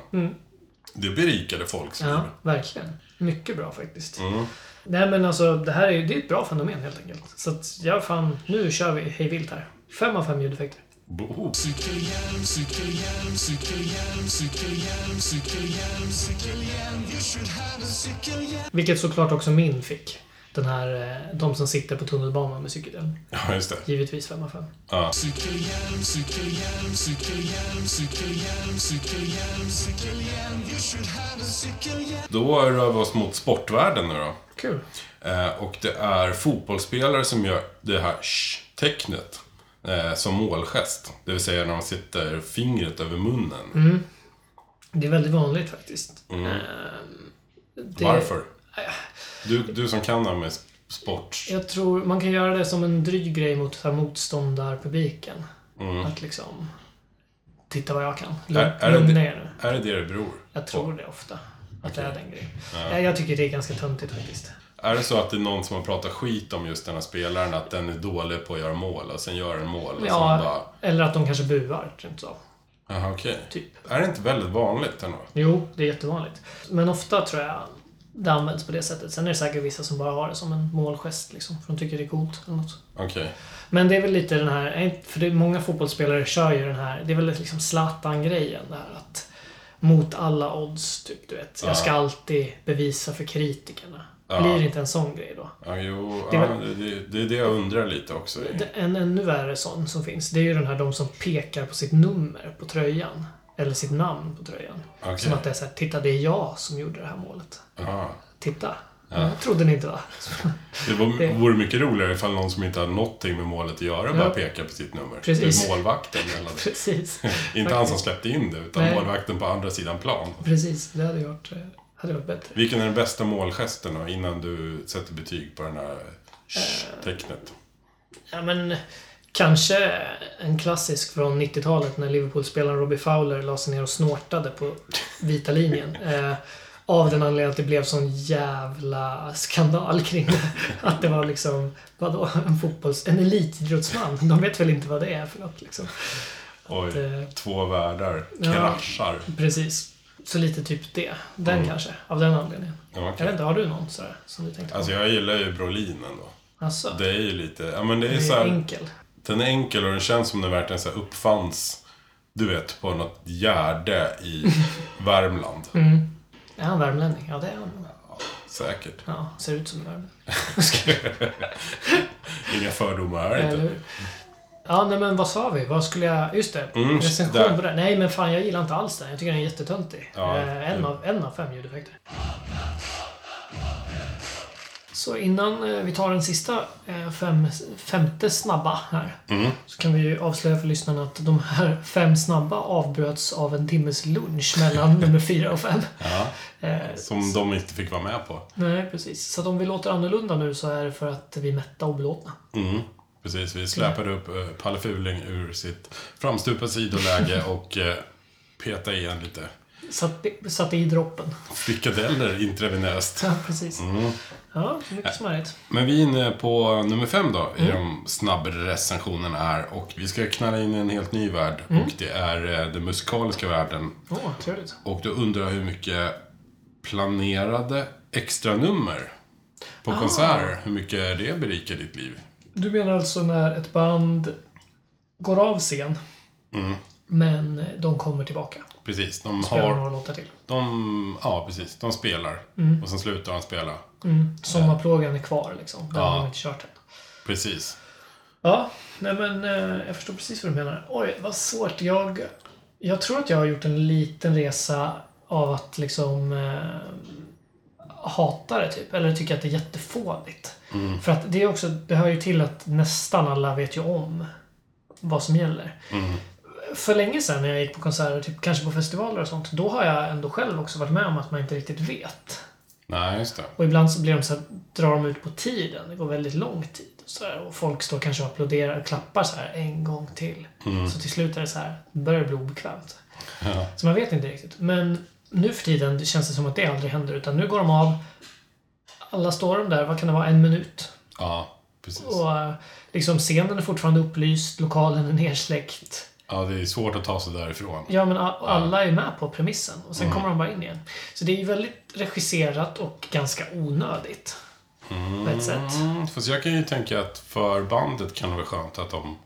Det berikade folks liv.
Mm. Ja, verkligen. Mycket bra faktiskt.
Mm.
Nej men alltså, det här är ju det är ett bra fenomen helt enkelt. Så att jag fan, nu kör vi hej vilt här. Fem av fem ljudeffekter.
Bo-
Vilket såklart också min fick. Den här, eh, de som sitter på tunnelbanan med cykelhjälm.
Ja, just det.
Givetvis fem av fem.
Ja. Då rör vi oss mot sportvärlden nu då.
Kul.
Eh, och det är fotbollsspelare som gör det här sh-tecknet eh, som målgest. Det vill säga när man sätter fingret över munnen.
Mm.
Mm.
Det är väldigt vanligt faktiskt. Eh, det- Eh.
Varför? Du, du som kan det här med s- sport.
Jag tror man kan göra det som en dryg grej mot så här, motståndarpubliken. Att liksom... Titta vad jag kan. Lugn,
Mm. Är- är det-
lugna er nu.
Är det det det beror?
Jag tror det ofta. Att det är den grejen. Ja. Jag tycker det är ganska töntigt faktiskt.
Är det så att det är någon som har pratat skit om just den här spelaren, att den är dålig på att göra mål och sen gör en mål och sen bara...
Ja, eller att de kanske buar, typ så.
Jaha, okej.
Typ.
Är det inte väldigt vanligt ändå?
Jo, det är jättevanligt. Men ofta tror jag det används på det sättet. Sen är det säkert vissa som bara har det som en målgest liksom. För de tycker det är coolt eller något.
Okej.
Men det är väl lite den här, är inte- för det är många fotbollsspelare kör ju den här, det är väl liksom Zlatan-grejen det här att mot alla odds, typ du vet. Jag ska alltid bevisa för kritikerna. Blir det inte en sån grej då?
Ja, jo,
Det
det,
var-
ja, det, det, det är det jag undrar lite också.
Det- En ännu värre sån som finns, det är ju den här de som pekar på sitt nummer på tröjan. Eller sitt namn på tröjan.
Okej.
Som att det är såhär, titta det är jag som gjorde det här målet.
Ja.
Titta. Ja. Trodde ni inte va?
Det
Det-
var, vore mycket roligare ifall någon som inte har någonting med målet att göra bara pekar på sitt nummer.
Precis.
Det är målvakten eller
Precis.
Inte han som släppte in det, utan
Nej.
målvakten på andra sidan plan.
Precis, det hade ju varit, eh, hade varit bättre.
Vilken är den bästa målgesten då, innan du sätter betyg på den här sh-
Eh,
tecknet?
Ja, men kanske en klassisk från 90-talet när Liverpool-spelaren Robbie Fowler la sig ner och snortade på vita linjen. Eh, av den anledningen att det blev sån jävla skandal kring det. Att det var liksom, vadå, en fotbolls... En elitidrottsman. De vet väl inte vad det är för något liksom.
Oj,
Eh,
två världar
Ja.
kraschar.
precis. Så lite typ det. Den kanske, av den anledningen.
Ja,
Jag vet
Mm. okej.
inte, har du någon sådär som du tänkte på?
Alltså jag gillar ju Brolin ändå.
Alltså,
Det är ju lite, ja men det är,
det
så
är
här,
enkel.
Den är enkel och den känns som den verkligen så här uppfanns, du vet, på något gärde i Värmland.
Är han värmlänning? Ja, det är han.
Säkert.
Ja, ser ut som en värmlänning.
Inga fördomar här
Eller
inte.
hur? Ja, nej men vad sa vi? Vad skulle jag... Just det.
Mm,
recension
där.
på den. Nej men fan, jag gillar inte alls den. Jag tycker den är jättetöntig.
Ja,
eh, en,
det-
av, en av fem ljudeffekter. Så innan eh, vi tar den sista eh, fem, femte snabba här.
Mm.
Så kan vi ju avslöja för lyssnarna att de här fem snabba avbröts av en timmes lunch mellan nummer fyra och fem.
Ja,
Eh,
som de inte fick vara med på.
nej, precis. Så att om vi låter annorlunda nu så är det för att vi är mätta och belåtna.
Mm. Precis, vi släpade upp eh, Palle Fuling ur sitt framstupa sidoläge och eh, petade igen lite
Satte, satte i droppen.
frikadeller intravenöst.
Ja, precis. Ja, mycket smarrigt.
Men vi är inne på nummer fem då, i de snabbare recensionerna här. Och vi ska knalla in i en helt ny värld. Och det är eh, den musikaliska världen.
Åh, trevligt.
Och då undrar jag hur mycket planerade extra nummer på
Ah.
konserter, hur mycket det berikar ditt liv?
Du menar alltså när ett band går av scen, men de kommer tillbaka?
Precis, de
Spelar
har...
några låtar till.
De, ja, precis. De spelar.
Mm.
Och sen slutar de spela.
Sommarplågan är kvar liksom. Den
Ja.
har de inte kört än.
Precis.
Ja, nej men eh, jag förstår precis vad du menar. Oj, vad svårt. Jag, jag tror att jag har gjort en liten resa av att liksom eh, hata det typ. Eller tycka att det är jättefånigt. För att det är också, det hör ju till att nästan alla vet ju om vad som gäller. För länge sedan när jag gick på konserter, typ, kanske på festivaler och sånt, då har jag ändå själv också varit med om att man inte riktigt vet.
Nej, just det.
Och ibland så blir de så här, drar de ut på tiden. Det går väldigt lång tid. Och, så här, och folk står kanske och applåderar och klappar så här en gång till. Så till slut är det så här, det börjar bli obekvämt.
Mm. Ja.
Så man vet inte riktigt. Men nu för tiden det känns det som att det aldrig händer. Utan nu går de av. Alla står de där, vad kan det vara, en minut.
Ja, precis.
Och eh, liksom scenen är fortfarande upplyst, lokalen är nersläckt.
Ja, det är svårt att ta sig därifrån.
Ja, men a- alla är med på premissen och
Mm.
sen kommer de bara in igen. Så det är ju väldigt regisserat och ganska onödigt. På ett sätt.
Mm, fast jag kan ju tänka att för bandet kan det vara skönt att de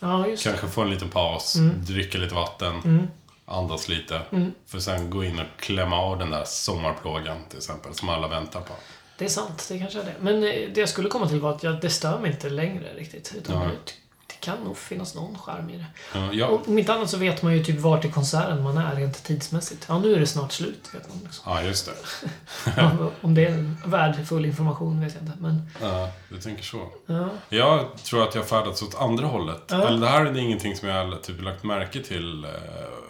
Ja, just det.
kanske får en liten paus,
Mm.
dricka lite vatten, andas lite. För sen gå in och klämma av den där sommarplågan till exempel, som alla väntar på.
Det är sant, det kanske är det. Men eh, det jag skulle komma till var att jag, det stör mig inte längre riktigt. Utan
Nej.
det, det kan nog finnas någon charm i det.
Ja, jag,
Och om inte annat så vet man ju typ vart i konserten man är rent tidsmässigt. Ja, nu är det snart slut, vet man. Liksom.
ja just det.
Om- Om det är värdefull information vet jag inte. Men,
Ja, du tänker så.
ja.
Jag tror att jag färdats åt andra hållet.
Ja.
Eller det här är ingenting som jag typ lagt märke till eh,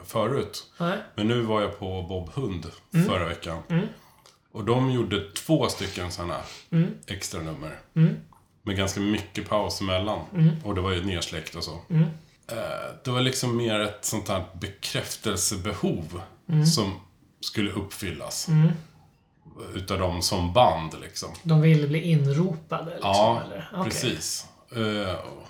förut.
Nej.
Men nu var jag på Bob Hund
Mm.
förra veckan. Och de gjorde två stycken sådana
Mm.
extra nummer. Med ganska mycket paus emellan.
Mm.
Och det var ju nersläckt och så. Eh, Det var liksom mer ett sånt här bekräftelsebehov
Mm.
som skulle uppfyllas. Utav dem som band liksom.
De vill bli inropade liksom,
Ja,
eller? Okej.
precis. Eh, och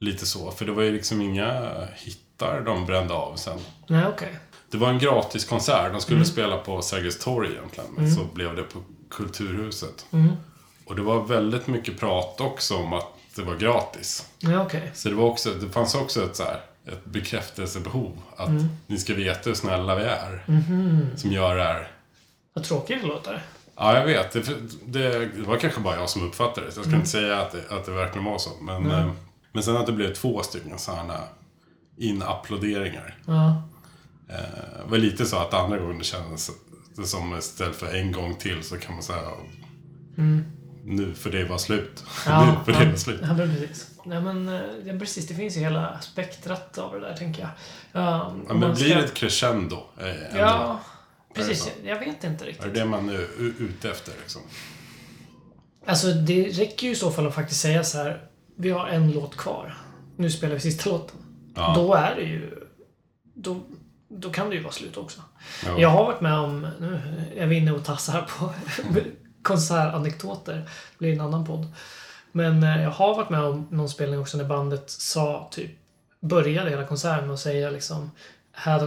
lite så. För det var ju liksom inga hittar de brände av sen.
Nej, okej.
Det var en gratiskonsert. De skulle
Mm.
spela på Sergels torg egentligen. Men så blev det på Kulturhuset.
Mm.
Och det var väldigt mycket prat också om att det var gratis.
Ja, okej.
Så det, var också, det fanns också ett, så här, ett bekräftelsebehov. Att
Mm.
ni ska veta hur snälla vi är.
Mm-hmm.
Som gör det här.
Vad tråkigt det låter.
Ja, jag vet. Det, det, det var kanske bara jag som uppfattade det. Så jag
Mm.
ska inte säga att det, att det verkligen var så. Men, eh, men sen att det blev två stycken sådana inapplåderingar.
Ja.
Eh, Det var lite så att andra gången det kändes det som istället för en gång till så kan man säga Nu för det var slut. nu för det var slut.
Mm. Ja, men precis. Nej, men eh, ja, precis. Det finns ju hela spektrat av det där, tänker jag. Ja,
Ja, men blir det ett crescendo? eh, ändå?
Ja,
så?
precis. Jag, jag vet inte
Är det
riktigt.
det man är u- ute efter liksom?
Alltså, det räcker ju i så fall att faktiskt säga så här. Vi har en låt kvar. Nu spelar vi sista låten.
Ja.
Då är det ju... Då, då kan det ju vara slut också.
Jo.
Jag har varit med om, nu är vi inne och tassar på konsertanekdoter. Det blir en annan podd. Men eh, jag har varit med om någon spelning också när bandet sa typ, började hela konserten med att säga liksom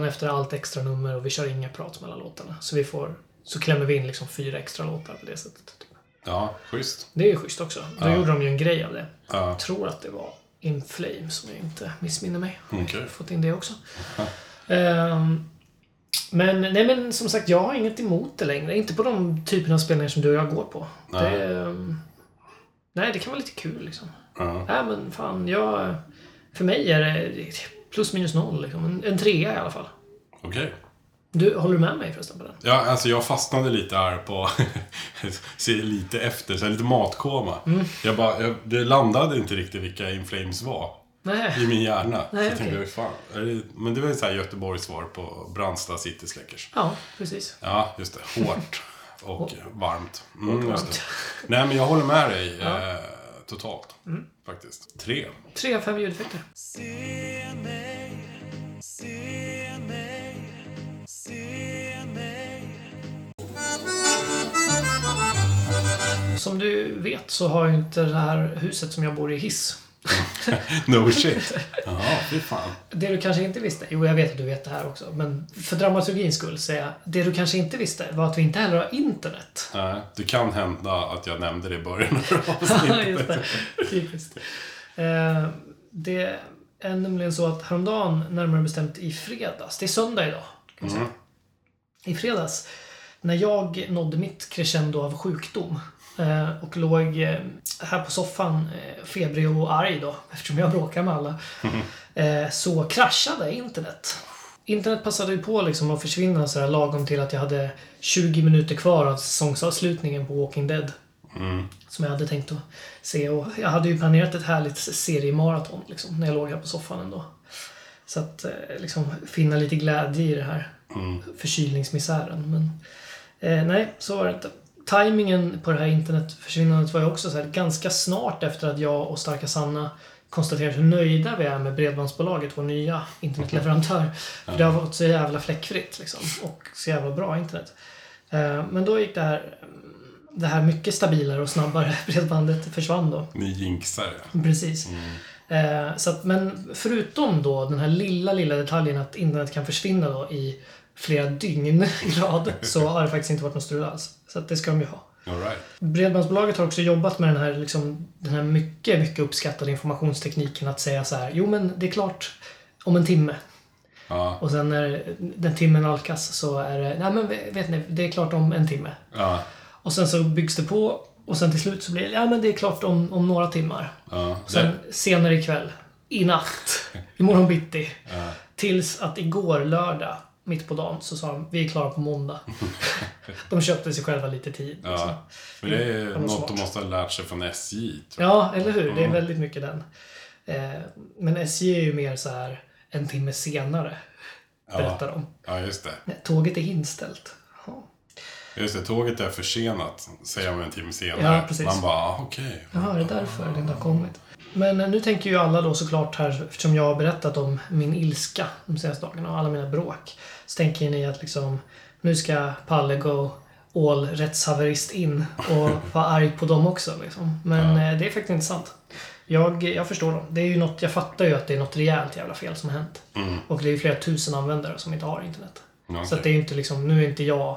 efter allt extra nummer och vi kör inga prat mellan låtarna. Så vi får, så klämmer vi in liksom fyra extra låtar på det sättet. Typ.
Ja, schysst.
Det är ju schysst också. Då gjorde de ju en grej av det.
Ja.
Jag tror att det var In Flames, om jag inte missminner mig. Jag
Okej.
har fått in det också. Ehm, men, nej, men som sagt, jag har inget emot det längre. Inte på de typerna av spelningar som du och jag går på.
Nej.
Det, ehm, nej, det kan vara lite kul liksom.
Ja.
Nej, men fan, jag... För mig är det plus minus noll liksom. En, en trea i alla fall.
Okej.
Du, håller du med mig förresten på den?
Ja, alltså jag fastnade lite här på... se lite efter, så här, lite matkoma.
Mm.
Jag bara, jag, det landade inte riktigt vilka In Flames var
Nej.
i min hjärna. så
Nej,
jag tänkte,
okej.
"Vad fan, är det... Men det var ju så här Göteborgs svar på Brandsta City Släckers.
Ja, precis.
Ja, just det. Hårt och varmt. Mm, just
varmt.
det. Nej, men jag håller med dig eh, totalt.
Mm.
Faktiskt. Tre.
Tre av fem ljudeffekter. Som du vet så har ju inte det här huset som jag bor i hiss.
No shit. Ja, fy fan.
Det du kanske inte visste, jo jag vet att du vet det här också, men för dramaturgins skull säger jag, det du kanske inte visste var att vi inte heller har internet.
Nej, det kan hända att jag nämnde det i början av
Ja,
avsnittet.
just det. Typiskt. Eh, det är nämligen så att häromdagen, närmare bestämt i fredags, det är söndag idag, kan vi säga. I fredags, när jag nådde mitt crescendo av sjukdom eh, och låg eh, här på soffan eh, febrig och arg då, eftersom jag bråkar med alla, eh, så kraschade internet. Internet passade ju på liksom att försvinna så här lagom till att jag hade 20 minuter kvar av säsongsavslutningen på Walking Dead som jag hade tänkt att se. Och jag hade ju planerat ett härligt seriemaraton liksom, när jag låg här på soffan ändå. Så att eh, liksom, finna lite glädje i det här förkylningsmisären. Men eh, nej, så var det inte. timingen på det här internetförsvinnandet var ju också så här ganska snart efter att jag och Starka Sanna konstaterade hur nöjda vi är med Bredbandsbolaget, vår nya internetleverantör. För det har varit så jävla fläckfritt liksom och så jävla bra internet. Eh, Men då gick det här, det här mycket stabilare och snabbare bredbandet försvann då.
Ni jinxar ja.
Precis. Eh, så att, men förutom då den här lilla, lilla detaljen att internet kan försvinna då i flera dygn i rad så har det faktiskt inte varit något strul alls. Så att det ska de ju ha.
All right.
Bredbandsbolaget har också jobbat med den här, liksom, den här mycket, mycket uppskattade informationstekniken att säga så här, jo men det är klart om en timme.
Ja,
Och sen när den timmen alkas så är det, nej men vet ni, det är klart om en timme.
ja,
Och sen så byggs det på och sen till slut så blir det, ja men det är klart om, om några timmar.
ja.
Sen
Det,
senare ikväll, i natt, imorgon bitti. Tills att igår lördag, mitt på dagen, så sa de vi är klara på måndag. de köpte sig själva lite tid. liksom.
ja. Men det är
var
något
smart.
de måste ha lärt sig från SJ. Tror
Ja, eller hur?
Mm.
Det är väldigt mycket den. Eh, Men SJ är ju mer så här en timme senare,
jag.
berättar
ja.
de.
ja, just det.
Tåget är inställt. Ja.
Just det, tåget är försenat, säger man en timme senare.
Ja, precis.
Man bara, ah, okej.
Jaha, är det därför det inte har kommit? Men eh, nu tänker ju alla då såklart här, eftersom jag har berättat om min ilska de senaste dagarna och alla mina bråk. Så tänker ni att liksom, nu ska Palle gå all rättshaverist in och vara arg på dem också. Liksom. Men eh, det är faktiskt inte sant. Jag, jag förstår dem. Det är ju något, jag fattar ju att det är något rejält jävla fel som har hänt. Och det är ju flera tusen användare som inte har internet.
Mm. Ja,
Så att det
okej.
är ju inte liksom, nu är inte jag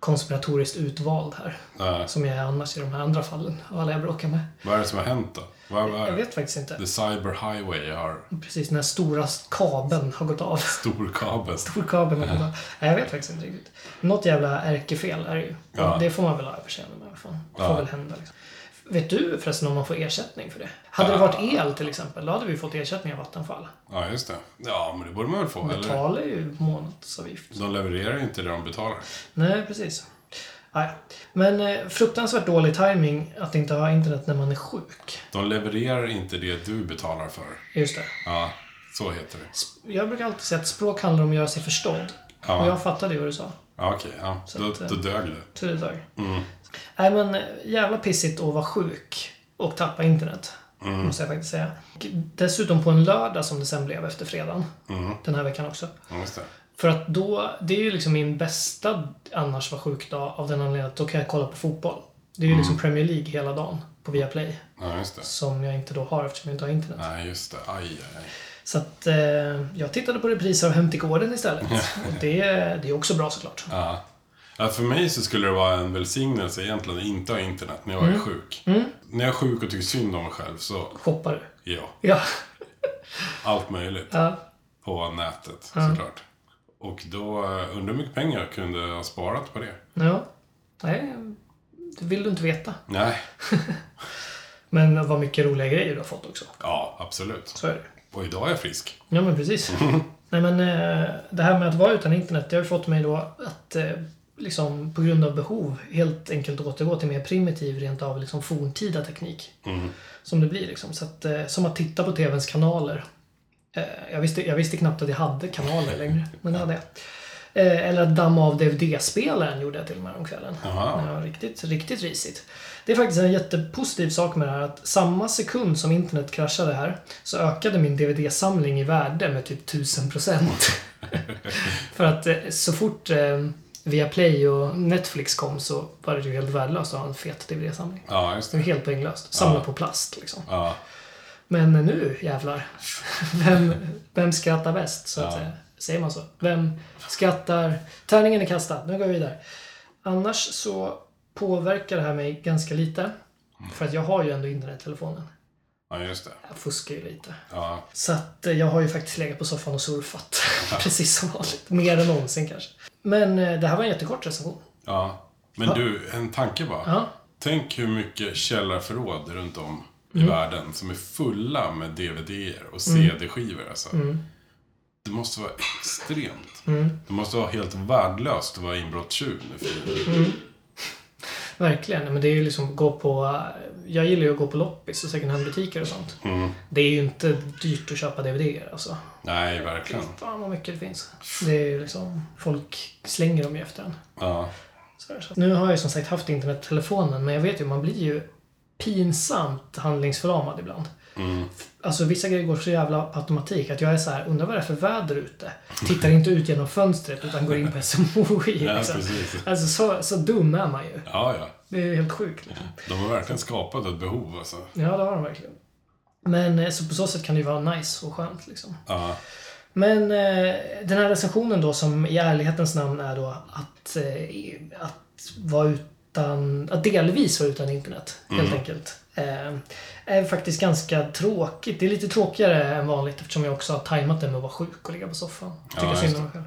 konspiratoriskt utvald här.
Nej.
Som jag är annars i de här andra fallen och alla jag bråkar med.
Vad är det som har hänt då? Vad, vad
Jag
är det?
vet faktiskt inte.
The Cyber Highway har
Precis, den här stora kabeln har gått av.
stor kabel.
Kabeln har gått av. Nej, jag vet faktiskt inte riktigt. Något jävla ärkefel är det ju.
Ja.
Det får man väl ha överseende med. vad Fan. Det får
Ja.
väl hända. Liksom. Vet du förresten om man får ersättning för det? Hade det
Ja.
varit el till exempel, då hade vi fått ersättning av Vattenfall.
Ja, just det. Ja, men det borde man väl få, eller?
Betalar ju månadsavgift.
De levererar ju inte det de betalar.
Nej, precis. Ah, ja. Men eh, fruktansvärt dålig timing att inte ha internet när man är sjuk.
De levererar inte det du betalar för.
Just det.
Ja, så heter det.
Sp- Jag brukar alltid säga att språk handlar om att göra sig förstådd.
Ja.
Och jag fattade ju vad du sa.
Ja, okej. Ja.
Så
Då,
att, eh,
då dög det.
Tur idag.
Mm.
Nej men eh, jävla pissigt att vara sjuk och tappa internet.
Mm.
Måste jag faktiskt säga. Och Dessutom på en lördag som det sen blev efter fredagen.
Mm.
Den här veckan också.
Ja, just det.
För att då, det är ju liksom min bästa annars vara sjuk dag av den anledningen att då kan jag kolla på fotboll. Det är ju
Mm.
liksom Premier League hela dagen på Viaplay.
Ja, just det.
Som jag inte då har eftersom jag inte har internet.
Nej, just det. Aj, aj, aj.
Så att eh, jag tittade på repriser av Hem till gården istället. och det, det är också bra såklart.
Ja. Ja, för mig så skulle det vara en välsignelse egentligen att inte ha internet när jag
Mm.
är sjuk. När jag är sjuk och tycker synd om mig själv så,
Shoppar du?
ja,
Ja.
allt möjligt
ja.
på nätet såklart. Och då, eh, undrar hur mycket pengar jag kunde ha sparat på det.
Ja. Nej, det vill du inte veta.
Nej,
Men vad mycket roliga grejer du har fått också.
ja absolut.
Så är det.
Och idag är jag frisk.
Ja, men precis. Nej, men eh, det här med att vara utan internet, det har ju fått mig då att eh, liksom på grund av behov helt enkelt återgå till mer primitiv, rent av liksom forntida teknik. Som det blir liksom. Så att, eh, som att titta på TVns kanaler. Eh, jag, visste, jag visste knappt att jag hade kanaler längre, men det hade jag. Eh, eller att damma av DVD-spelaren gjorde jag till och med om kvällen.
Jaha.
Ja, riktigt, riktigt risigt. Det är faktiskt en jättepositiv sak med det här att samma sekund som internet kraschade här så ökade min DVD-samling i värde med typ 1000%. För att eh, så fort eh, Viaplay och Netflix kom så var det ju helt värdelöst att ha en fet DVD-samling.
Ja, just
Det var
det.
helt poänglöst. Samla på plast liksom.
Ja,
Men nu jävlar. Vem, vem skrattar bäst så att säga? Säger man så? Vem skrattar? Tärningen är kastad. Nu går vi vidare. Annars så påverkar det här mig ganska lite. För att jag har ju ändå internettelefonen.
ja just det.
Jag fuskar ju lite.
Ja,
Så att eh, jag har ju faktiskt legat på soffan och surfat. Precis som vanligt. Mer än någonsin kanske. Men eh, det här var en jättekort recension.
ja. Men du, en tanke bara.
Ja,
Tänk hur mycket källarförråd runt om i världen som är fulla med DVDer och CD-skivor. Alltså. Det måste vara extremt. Det måste vara helt värdelöst att vara inbrottstjuv nu för tiden.
verkligen. Men det är ju liksom gå på... eh, Jag gillar ju att gå på loppis och second hand-butiker och sånt.
Mm.
Det är ju inte dyrt att köpa DVD-er alltså.
Nej, verkligen.
Fan vad mycket det finns. Det är ju liksom... Folk slänger dem ju efter en.
Ja.
Så är det så. Nu har jag ju som sagt haft internettelefonen, men jag vet ju, man blir ju pinsamt handlingsförlamad ibland.
Mm.
Alltså vissa grejer går så jävla på automatik att jag är så här, undrar vad det är för väder ute? Tittar inte ut genom fönstret utan går in på SMHI.
Ja,
liksom.
precis.
Alltså så, så dum är man ju.
Ja, ja.
Det är ju helt sjukt. Liksom.
De har verkligen skapat ett behov alltså.
Ja, det har de verkligen. Men eh, så på så sätt kan det ju vara nice och skönt liksom.
Ja.
Men eh, den här recensionen då som i ärlighetens namn är då att, eh, att vara utan, att delvis vara utan internet helt
Mm.
enkelt. Eh, är faktiskt ganska tråkigt. Det är lite tråkigare än vanligt eftersom jag också har tajmat det med att vara sjuk och ligga på soffan. Tycker
Ja,
synd
just
om mig själv.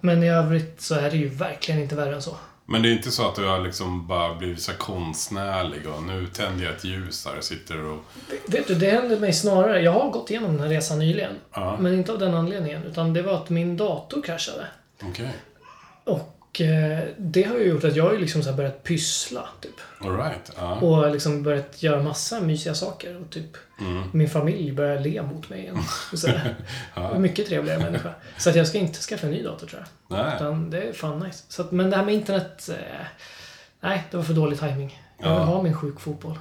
Men i övrigt så är det ju verkligen inte värre än så.
Men det är inte så att du har liksom bara blivit så här konstnärlig och nu tänder jag ett ljus här och sitter och...
Vet du, det hände mig snarare. Jag har gått igenom den här resan nyligen.
Ja.
Men inte av den anledningen. Utan det var att min dator kraschade.
Okej.
Och eh, det har ju gjort att jag har ju liksom så här börjat pyssla. Typ.
Alright. Ja.
Och liksom börjat göra massa mysiga saker. Och typ min familj börjar le mot mig igen. Och så här. Mycket trevligare människa. Så att jag ska inte skaffa en ny dator tror jag.
Nej.
Utan det är fan nice. Så att, men det här med internet... Eh, nej, det var för dålig timing. Jag vill
Ja.
ha min sjuk fotboll.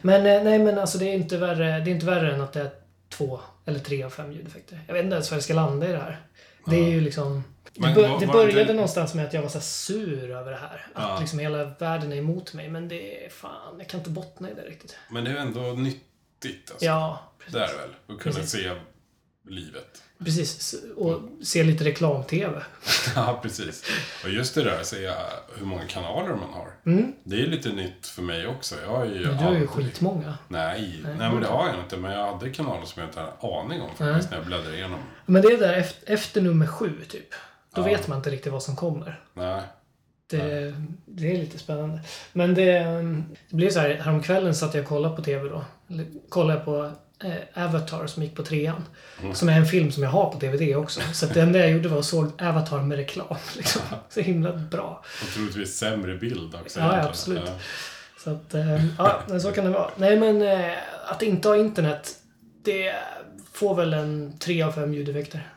men eh, nej, men alltså det är, inte värre, det är inte värre än att det är två eller tre av fem ljudeffekter. Jag vet inte ens var jag ska landa i det här. Det är ju liksom...
Men
det, bör,
vad-
det
vad-
började
det-
någonstans med att jag var så här sur över det här. Att
Ja.
liksom hela världen är emot mig. Men det är fan, jag kan inte bottna i det riktigt.
Men det är ändå nyttigt alltså.
Ja, precis.
Det är det väl? Att kunna
Precis.
se livet.
precis. Och se lite reklam-tv.
Ja, precis. Och just det där att se hur många kanaler man har. Det är lite nytt för mig också. Jag har ju
Mm. Du har ju
aldrig-
skitmånga.
Nej, nej, men det har jag inte. Men jag hade kanaler som jag inte hade en aning om faktiskt när jag bläddrade igenom.
Men det är där efter, efter nummer sju, typ. Då vet man inte riktigt vad som kommer.
Nej.
Det, det är lite spännande. Men det, mm, det blev så här, häromkvällen satt jag och kollade på TV då. Eller Kollade på eh, Avatar som gick på trean. Som är en film som jag har på DVD också. Så att det enda jag gjorde var att såg Avatar med reklam. Liksom. Så himla bra.
Och troligtvis sämre bild också.
Ja,
egentligen.
absolut.
Ja.
Så att, eh, ja, men så kan det vara. Nej men, eh, att inte ha internet, det får väl en tre av fem ljudeffekter.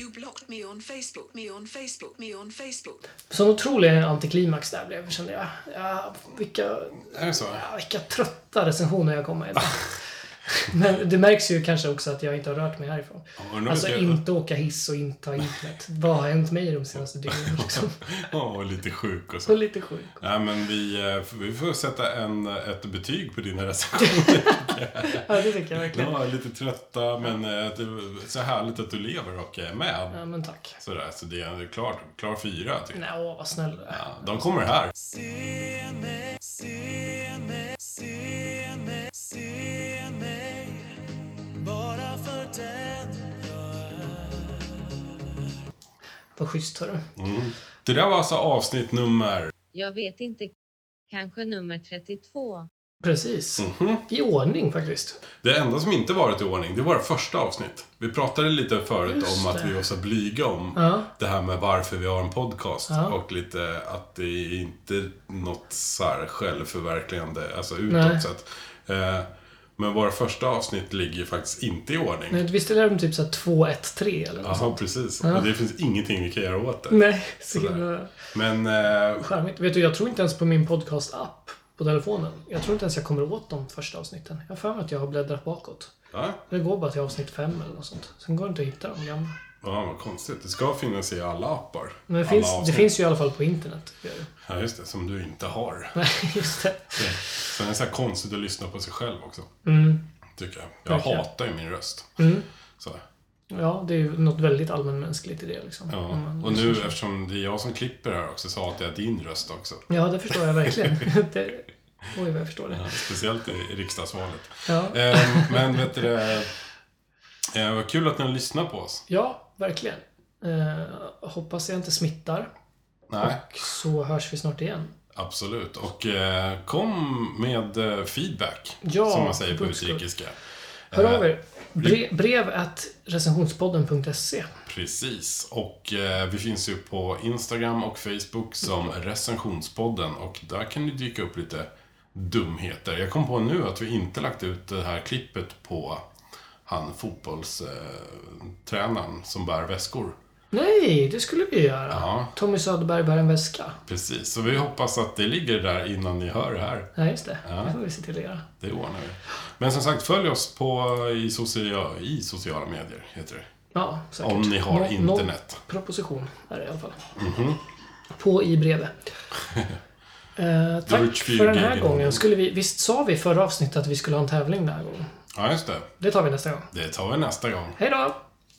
You blocked me on Facebook, me on Facebook, me on Facebook.
Sån otrolig antiklimax där blev kände jag. Ja, vilka
Är det så?
Ja, vilka trötta recensioner jag kommer med.
Ah.
Men det märks ju kanske också att jag inte har rört mig härifrån.
undrar om
Alltså
jag-
inte åka hiss och inte ha internet. Vad har hänt mig de senaste dygnen liksom?
Ja, och lite sjuk och
Så
så.
lite sjuk.
Nej, men vi, eh, f- vi får sätta en, ett betyg på dina recensioner.
Ja, det tycker jag verkligen.
Ja, lite trötta, men eh, att det är så härligt att du lever och är med.
Ja, men tack.
Sådär, så det är klart, klar fyra. Typ.
Nej, åh vad snäll du är.
Ja, de kommer här.
Vad schysst hörru.
Mm. Det där var alltså avsnitt nummer...
Jag vet inte. Kanske nummer 32.
Precis.
Mhm.
I ordning faktiskt.
Det enda som inte varit i ordning, det var det första avsnitt. Vi pratade lite förut
Just
om att
det.
vi var så blyga om
Ja.
det här med varför vi har en podcast.
Ja.
Och lite att det är inte något så här självförverkligande, alltså
Nej.
utåt sett. Eh, Men våra första avsnitt ligger ju faktiskt inte i ordning.
Nej, Visst är de typ såhär 2-1-3 eller något sånt?
Ja, precis. Och det finns ingenting vi kan göra åt det.
Nej, så
Sådär.
himla
Men eh,
charmigt. Vet du, jag tror inte ens på min podcast-app på telefonen. Jag tror inte ens jag kommer åt de första avsnitten. Jag har för mig att jag har bläddrat bakåt.
ja,
Det går bara till avsnitt fem eller något sånt. Sen går det inte att hitta de gamla.
ja, vad konstigt. Det ska finnas i alla appar.
Men det,
alla
finns, det
avsnitt.
finns ju i alla fall på internet. gör det.
Ja, just det. Som du inte har.
Nej, just det.
Sen är det så här konstigt att lyssna på sig själv också. Tycker jag. Jag
Mm. Verkligen. Mm.
hatar ju min röst. Så,
Ja, det är ju något väldigt allmänmänskligt i det liksom.
ja.
Om man-
Och nu eftersom det är jag som klipper här också så hatar jag din röst också.
Ja, det förstår jag verkligen. det... Oj, vad jag förstår det.
Speciellt i i riksdagsvalet.
Ja,
Ehm, Men vet du det, eh, Vad kul att ni lyssnar på oss.
ja verkligen. Eh, hoppas jag inte smittar.
Nej,
Så hörs vi snart igen.
absolut. Och eh, kom med eh, feedback.
Ja,
som man säger på
för guds skull.
utrikeska.
Hör
Eh,
av er. Bre- brev at recensionspodden.se.
Precis. Och eh, vi finns ju på Instagram och Facebook som recensionspodden och där kan det dyka upp lite dumheter. Jag kom på nu att vi inte lagt ut det här klippet på han fotbollstränaren som bär väskor.
Nej, det skulle vi göra.
Ja.
Tommy Söderberg bär en väska.
Precis, så vi hoppas att det ligger där innan ni hör det här.
Ja, just det.
Ja.
Det får vi se till att göra.
Det ordnar vi. Men som sagt, följ oss på, i, socia, i sociala medier, heter det.
Ja, säkert.
Om ni har
Nå- nå-
internet. Mhm.
proposition är det i alla fall. På i brevet. Eh, tack
Deutsch
för den här
Fyrgegen.
gången. Skulle vi, visst sa vi i förra avsnittet att vi skulle ha en tävling den här gången?
Ja, just det.
Det tar vi nästa gång.
Det tar vi nästa gång.
Hej då!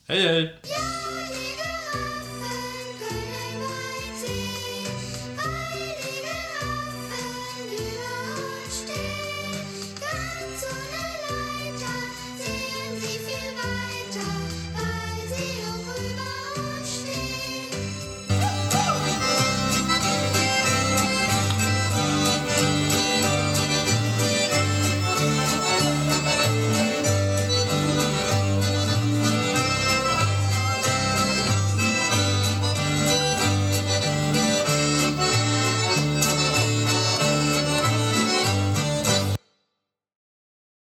Hej, hej!